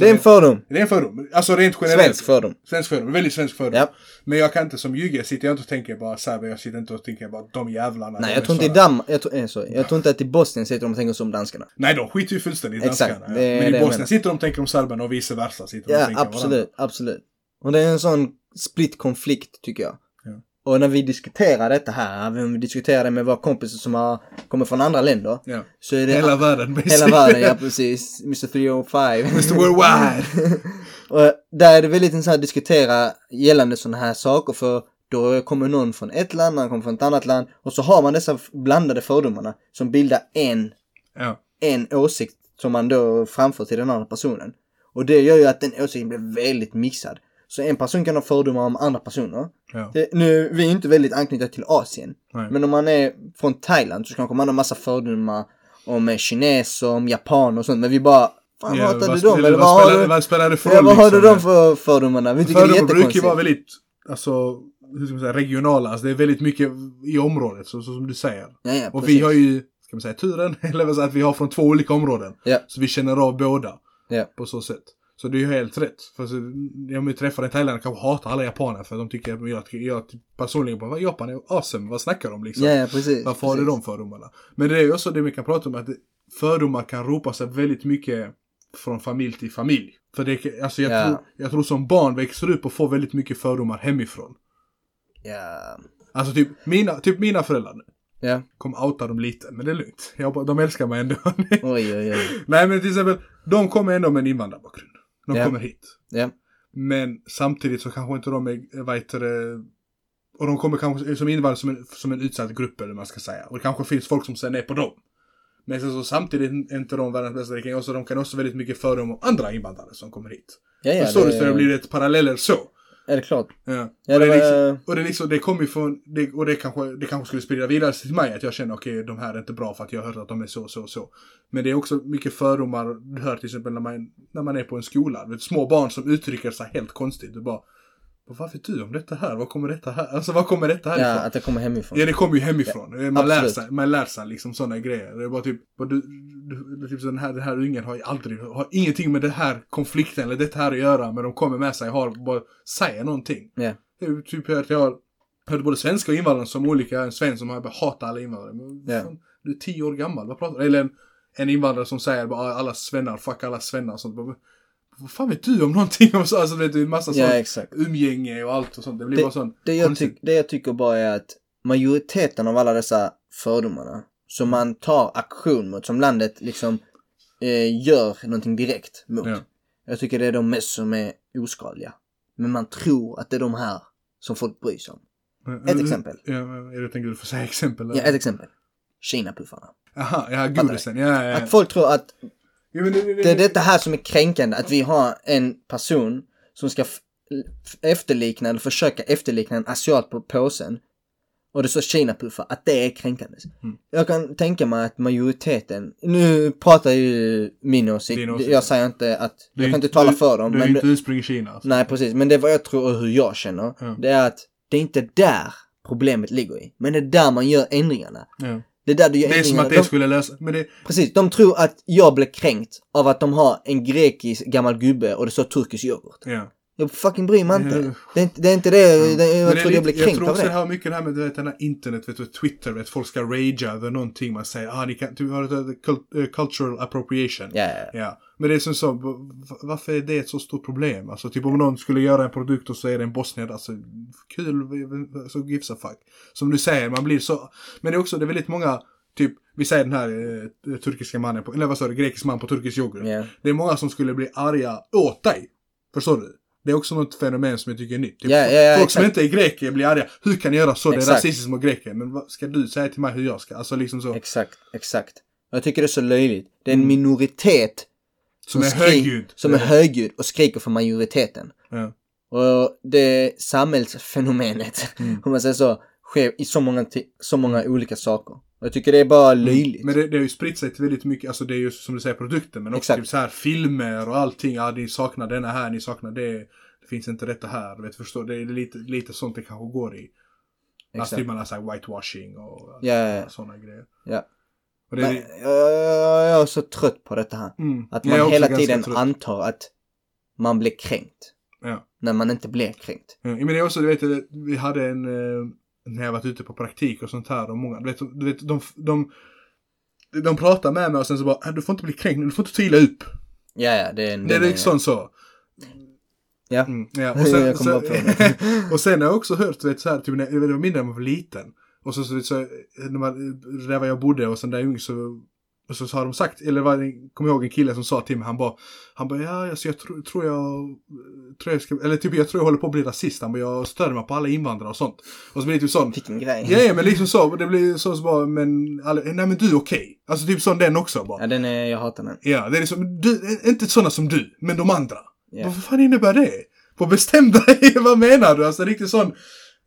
[LAUGHS] det är en fördom. det är en fördom. Alltså rent generellt. Svensk fördom. Svensk fördom, väldigt svensk fördom. Ja. Men jag kan inte som jugge, sitter jag inte och tänker bara serber, jag sitter inte och tänker bara de jävlarna. de Nej, är jag tror inte i såna." Danmark, jag, tror- eh, sorry. jag tror inte att i Bosnien sitter de och tänker som danskarna. Nej, de skiter ju fullständigt i Exakt, danskarna. ja. det är Men det i jag menar. Bosnien sitter de och tänker om serberna och vice versa. Sitter de och Ja, tänker om varandra. absolut, absolut. Och det är en sån split konflikt tycker jag. Ja. Och när vi diskuterar detta här, när vi diskuterar det med våra kompisar som har kommit från andra länder, Ja. så är det Hela världen basically. hela världen, ja precis. Mr 305. [LAUGHS] Mr. Worldwide. [LAUGHS] och där är det väldigt intressant att diskutera gällande sådana här saker för då kommer någon från ett land, någon kommer från ett annat land och så har man dessa blandade fördomarna som bildar en Ja. en åsikt som man då framför till den andra personen. Och det gör ju att den åsikten blir väldigt mixad. Så en person kan ha fördomar om andra personer. Ja. Det, nu, vi är inte väldigt anknutna till Asien. Nej. Men om man är från Thailand så kanske man har massa fördomar om eh, kineser, om japaner och sånt. Men vi bara, fan Ja, hatar vad du dem? spelar- Eller vad vad har spelar- du, Vad spelar det för ja, roll? vad har du liksom? dem för fördomarna? Vi tycker det är Fördomar brukar ju jättekonstigt. vara väldigt, alltså, hur ska man säga, regionala. Alltså det är väldigt mycket i området, så, så som du säger. Ja, ja, Och precis. vi har ju, ska man säga turen, [LAUGHS] eller vad säger, att vi har från två olika områden. Ja. Så vi känner av båda. Ja. På så sätt. Så det är ju helt rätt. För så, om vi träffar en thailändare kanske hatar alla japaner för de tycker, jag, jag, jag personligen bara, "Vad, Japan är awesome, vad snackar de liksom? Ja, ja, precis. Varför har du precis. de fördomarna? Men det är ju också det vi kan prata om, att fördomar kan ropa sig väldigt mycket från familj till familj. För det, alltså jag, Ja. tror, jag tror som barn växer du upp och får väldigt mycket fördomar hemifrån. Ja. Alltså typ mina, typ mina föräldrar nu. Ja. Kommer outa dem lite, men det är lugnt. Jag, bara- de älskar mig ändå. [LAUGHS] Oj, oj, oj. Nej men till exempel, de kommer ändå med en invandrarbakgrund. De Ja. kommer hit. Ja. Men samtidigt så kanske inte de är, vad heter det, och de kommer kanske som invandrare som en, som en utsatt grupp eller vad man ska säga. Och det kanske finns folk som ser ner på dem. Men sen så samtidigt är inte de världens bästa, det kan ju också, de kan också väldigt mycket fördomar om andra invandrare som kommer hit. Ja, ja, Förstår du? Så det blir ett paralleller så. Är det klart? Ja. Ja, och, det det var, är liksom, eh, och det är liksom, det kommer ju från, det, och det kanske, det kanske skulle sprida vidare till mig att jag känner okej de här är inte bra för att jag har hört att de är så, så, så. Men det är också mycket fördomar du hör till exempel när man, när man är på en skola. Du vet, små barn som uttrycker sig helt konstigt. Du bara, "Vad- Varför du om detta här? Vad kommer detta här? Alltså vad kommer detta här Ja, ifrån? att det kommer hemifrån. Ja, det kommer ju hemifrån. man, lär Alltså. absolut. sig, man lär sig liksom sådana grejer. Det är bara typ, vad du, du, du- typ så den, här, den här ungen har ju aldrig, har ingenting med den här konflikten eller det här att göra, men de kommer med sig, har, bara säger någonting. Ja. Det är ju typ att jag har hört både svenska och invandrare som olika, en svensk som har bara hatar alla invandrare. Men, Ja. fan, du är tio år gammal, vad pratar du? Eller en, en invandrare som säger bara "Ah, alla svennar, fuck alla svennar och sånt. Bara, "Men Vad fan vet du om någonting? [LAUGHS] om så? Alltså, vet du, en massa Ja, sånt exakt. umgänge och allt och sånt. Det blir bara sån Det jag, konstig- tyck, det jag tycker bara är att majoriteten av alla dessa fördomarna som man tar aktion mot, som landet liksom eh, gör någonting direkt mot. Ja. Jag tycker det är de mest som är oskadliga. Men man tror att det är de här som folk bryr sig om. Ett exempel. Ja, men är det tänker du får säga exempel? Ja, ett exempel. Kinapuffarna. Aha, ja, godisen. Ja, ja, ja. Att folk tror att Jo, men det, det är detta här som är kränkande, att vi har en person som ska f- f- efterlikna eller försöka efterlikna en asiat på påsen och det står Kina-puffar, att det är kränkande. Mm. Jag kan tänka mig att majoriteten, nu pratar ju min åsikt, Din åsikt, ja. jag säger inte att, Det är jag kan inte- inte tala du- för dem, Du är men ju inte det, ursprung i Kina. Alltså. nej precis, men det är vad jag tror och hur jag känner, Ja. det är att det är inte där problemet ligger i, men det är där man gör ändringarna. Ja. Det är där du gör Det är som ändringarna. att det De- skulle lösa... Men det, Precis, de tror att jag blev kränkt av att de har en grekisk gammal gubbe och det står turkisk yoghurt. ja. Jag fucking bryr mig inte. Mm. Det är inte det. Är inte det. det Men jag det är tror jag lite- blev kränkt tror av också det det. har mycket det här med du vet, den här internet, vet du, Twitter, vet, folk ska ragea över någonting man säger. Ah, ni kan, du har det här cult- eh, cultural appropriation. Ja, ja, ja. Ja, men det är som så, va- varför är det ett så stort problem? Alltså typ om någon skulle göra en produkt och så är det en bosnier, alltså kul, så gives a fuck. Som du säger, man blir så, men det är också, det är väldigt många, typ, vi säger den här eh, turkiska mannen, på, eller vad sa du, grekisk man på turkisk yoghurt. Ja. Det är många som skulle bli arga åt dig. Förstår du? Det är också något fenomen som jag tycker är nytt. Typ, Ja, ja, ja, folk som exakt. inte är greker blir arga. Hur kan ni göra så? Det är Exakt. rasistiskt mot greker. Men vad ska du säga till mig hur jag ska? Alltså liksom så. Exakt, exakt. Jag tycker det är så löjligt. Det är en minoritet Mm. Som är skri- högljudd. som är högljudd och skriker för majoriteten. Ja. Och det samhällsfenomenet, Mm. om man säger så, sker i så många, ti- så många olika saker. Och jag tycker det är bara löjligt. Mm. Men det, det har ju spritt sig till väldigt mycket, alltså det är ju som du säger produkter men också Exakt. typ så här filmer och allting. Ja, ni saknar denna här, ni saknar det. Det finns inte detta här. Du vet, förstår, det är lite, lite sånt det kanske går i. Alltså Exakt. typ man har så här whitewashing och Ja, ja, ja. sådana grejer. Ja. Och det är, Men, jag, jag, jag är så trött på detta här. mm, Att jag är man också hela ganska tiden trött. antar att man blir kränkt. Ja. När man inte blir kränkt. Ja, men det är också, du vet, vi hade en, eh, när jag varit ute på praktik och sånt här och många, du vet, du vet de, de, de pratar med mig och sen så bara, "Äh, du får inte bli kränkt, du får inte ta illa upp. Ja, ja, det är en... Det är den- liksom så. Ja. Mm, ja. Och, [LAUGHS] sen, Jag och, kommer sen, bara på det. [LAUGHS] och sen har jag också hört, du vet, så här, typ, när, det var mindre när man var liten. Och så, så, så när man, där var jag bodde och sen där jag ung så, och så, så har de sagt, eller var, det- kommer jag ihåg en kille som sa till mig, han bara, han bara, ja, alltså, jag tror, tror jag, tror jag ska, eller typ jag tror jag håller på att bli rasist, han bara, jag stör mig på alla invandrare och sånt. Och så blir det typ sån, Vilken grej. ja, ja men liksom så, det blir så, så bara, men, alla, nej men du är okej. Alltså typ sån den också bara. Ja, den är... Jag hatar den. Ja, det är liksom, du, inte sådana som du, men de andra. Ja. Vad fan innebär det? På bestäm dig, [LAUGHS] vad menar du? Alltså riktigt sån,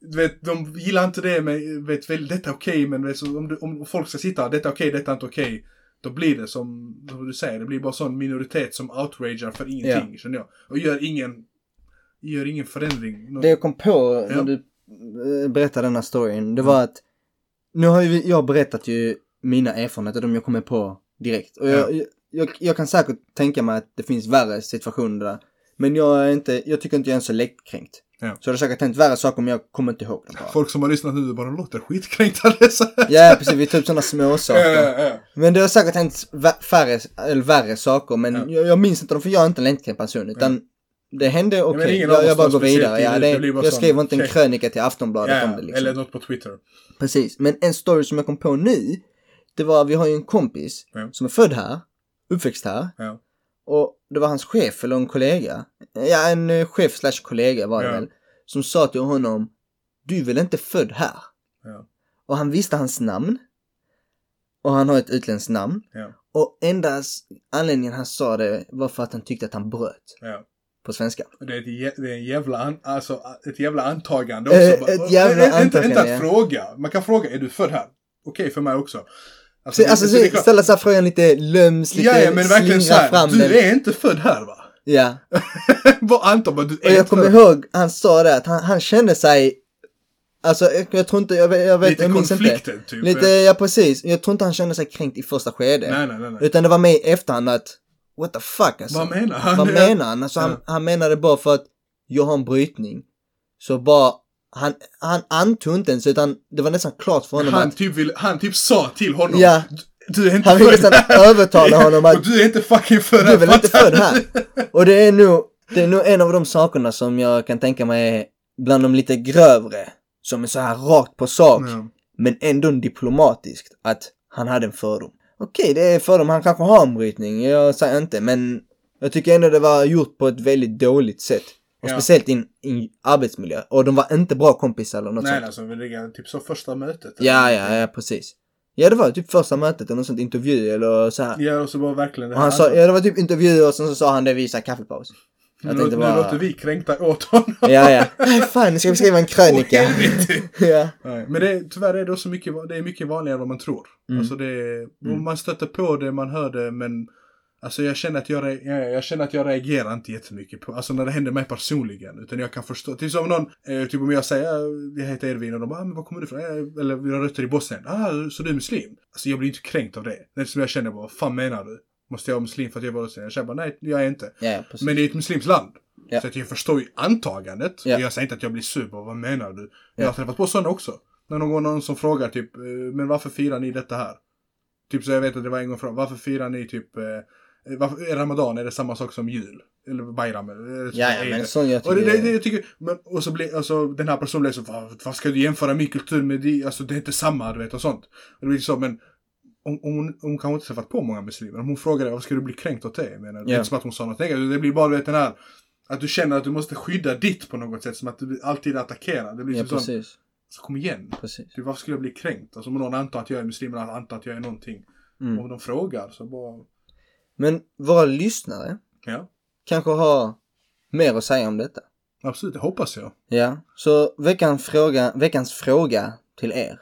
du vet, de gillar inte det, men vet väl, detta är okej, men vet, så om, du, om folk ska sitta, detta är okej, detta är inte okej. då blir det som, som du säger, det blir bara sån minoritet som outragear för ingenting, känner jag. Och gör ingen, gör ingen förändring. Nå- Det jag kom på Ja. Mm. när du eh, berättade den här storyn, det var att... Nu har ju vi- jag berättat ju mina erfarenheter, de jag kommer på direkt. Och jag, jag, jag kan säkert tänka mig att det finns värre situationer där. Men jag är inte... Jag tycker inte jag är en så lättkränkt. Ja. Så det har säkert hänt värre saker, men jag kommer inte ihåg dem bara. Folk som har lyssnat nu bara, de låter skitkränkta. så här. Ja, precis. Vi tar upp sådana småsaker. Ja, ja, ja. Men det har säkert hänt vä- färre, eller värre saker, men Ja. jag, jag minns inte dem för jag är inte en länkkränkt person. Utan det hände, okej, men ingen av jag, oss jag bara var går speciellt vidare. Ja, tidigt, det, det blir bara jag sån skrev inte en check. krönika till Aftonbladet om det. Ja, Liksom. eller något på Twitter. Precis, men en story som jag kom på nu, det var, vi har ju en kompis Ja. som är född här, uppväxt här. Ja. Och det var hans chef eller en kollega. Ja, en eh, chef slash kollega var det Ja. väl. Som sa till honom, du är väl inte född här? Ja. Och han visste hans namn. Och han har ett utländskt namn. Ja. Och enda s- anledningen han sa det var för att han tyckte att han bröt Ja. på svenska. Det är, ett, jä- det är en jävla an, alltså, ett jävla antagande också. Eh, Bara- ett jävla inte, inte, inte antagande, att ja. fråga. Man kan fråga, är du född här? Okej, för mig också. Så, alltså, det- det är så, klart. ställa sig frågan lite löms, lite ja, ja, men slingra verkligen så här, fram du den. är inte född här va? [LAUGHS] Ja. Vad Anton bara, du Och jag kommer ihåg, han sa det att han, han kände sig, alltså jag, jag tror inte, jag, vet- jag vet, Lite jag minns inte. konflikten typ. Lite, ja precis. Jag tror inte han kände sig kränkt i första skedet. Nej, nej, nej. nej. Utan det var mer i efterhand att, what the fuck alltså. Vad menar han? Vad menar han? Alltså, han, han menade bara för att jag har en brytning. Så bara, han, han antog inte ens utan det var nästan klart för honom Han att typ, vill, han typ sa till honom. Ja. "Du- Du är inte han ville född [LAUGHS] nästan här." övertala honom Ja, att [LAUGHS] Och du är inte fucking född du är väl inte fattar född här? Och det är nog, det är nog en av de sakerna som jag kan tänka mig är bland de lite grövre. Som är så här rakt på sak. Ja. Men ändå diplomatiskt. Att han hade en fördom. Okej, det är en fördom. Han kanske har en brytning. Jag säger inte. Men jag tycker ändå det var gjort på ett väldigt dåligt sätt. Och Ja. speciellt i en i arbetsmiljö. Och de var inte bra kompisar eller något Nej, sånt. alltså vi ligger typ så första mötet. Ja, ja, ja, precis. Ja, det var typ första mötet eller något sånt. Intervju eller så här. Ja, och så var verkligen det Alltså, Och han sa, ja det var typ intervjuer och sen så sa han det vid så här kaffepaus. nu, Jag tänkte nu bara- låter vi kränkta åt honom. [LAUGHS] Ja, ja. Nej, fan, nu ska vi skriva en krönika. Åh, helvete. [LAUGHS] ja. Nej, men det, är- tyvärr är det också mycket, det är mycket vanligare än vad man tror. Mm. Alltså det, är- och Mm. man stöter på det, man hör det, men Alltså jag känner, att jag, re- jag, jag känner att jag reagerar inte jättemycket på, alltså när det händer mig personligen. Utan jag kan förstå, typ som någon, eh, typ om jag säger "Ah, jag heter Edvin och de bara ah, men var kommer du ifrån? Eh, Eller vi har rötter i Bosnien. Ah, så du är muslim? Alltså jag blir inte kränkt av det. Det är som jag känner bara, vad fan menar du? Måste jag vara muslim för att jag var muslim? Jag känner bara, nej jag är inte. Ja, ja, precis. Men det är ett muslims land. Ja. Så att jag förstår ju antagandet. Ja. Jag säger inte att jag blir sur på vad menar du? Ja. Jag har träffat på sådana också. När någon, någon som frågar typ, eh, men varför firar ni detta här? Typ så jag vet att det var en gång från, varför firar ni typ, eh, varför, är ramadan, är det samma sak som jul? Eller bayram? Eller, eller- ja, ja, är men det? sån jag Och, det, tycker... det, det, jag tycker, men, och så blir alltså, den här personen blir så, vad, vad ska du jämföra min kultur med din? Alltså det är inte samma, du vet, och sånt. Och det blir så, men om, om hon, hon kanske inte träffat på många muslimer. Om hon frågar dig, vad ska du bli kränkt åt det? Jag menar, Det är Ja. inte som att hon sa något negativt. Det blir bara, du vet, den här, att du känner att du måste skydda ditt på något sätt. Som att du blir alltid attackerad. Det blir ja, typ sån, precis. så kom igen. Precis. Du, varför skulle jag bli kränkt? Alltså om någon antar att jag är muslim eller antar att jag är någonting. Mm. Om de frågar så bara, Men våra lyssnare ja. kanske har mer att säga om detta. Absolut, det hoppas jag. Ja, så veckans fråga, veckans fråga till er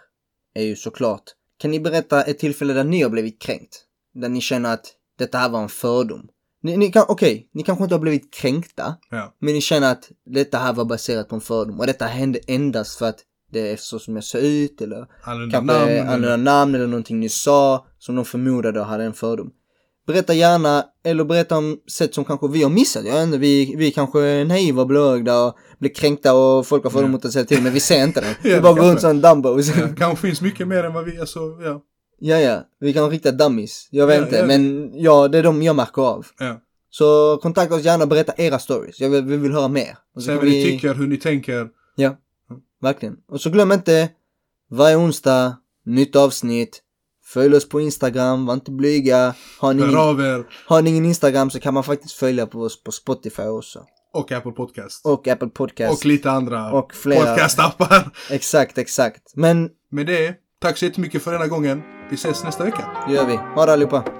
är ju såklart. Kan ni berätta ett tillfälle där ni har blivit kränkt? Där ni känner att detta här var en fördom. Ni, ni kan, okej, ni kanske inte har blivit kränkta. Ja. Men ni känner att detta här var baserat på en fördom och detta hände endast för att det är så som jag ser ut eller Annorlunda kanske namn. annorlunda eller- namn eller någonting ni sa som de förmodade hade en fördom. Berätta gärna, eller berätta om sätt som kanske vi har missat. Jag vet inte, vi, vi kanske är naiva och blögda och blir kränkta och folk har Ja. fördomar att säga till men vi ser inte det. Vi [LAUGHS] det bara går kanske. runt som dumbos. Ja, [LAUGHS] kanske finns mycket mer än vad vi, alltså, ja. [LAUGHS] ja, ja, vi kan rikta dummies. Jag vet Ja, inte, ja. men ja, det är de jag märker av. ja. Så kontakta oss gärna och berätta era stories. Jag vill, vi vill höra mer. Och så Säg kan vad ni tycker, hur ni tänker. Verkligen. Och så glöm inte, varje onsdag, nytt avsnitt. Följ oss på Instagram, var inte blyga. Har ni, Hör ingen, av er. har ni ingen Instagram så kan man faktiskt följa på oss på Spotify också. Och Apple Podcast. Och, Och Apple Podcast. lite andra Och flera. podcastappar. [LAUGHS] Exakt, exakt. Men Med det, tack så jättemycket för denna gången. Vi ses nästa vecka. det gör vi. Ha det allihopa.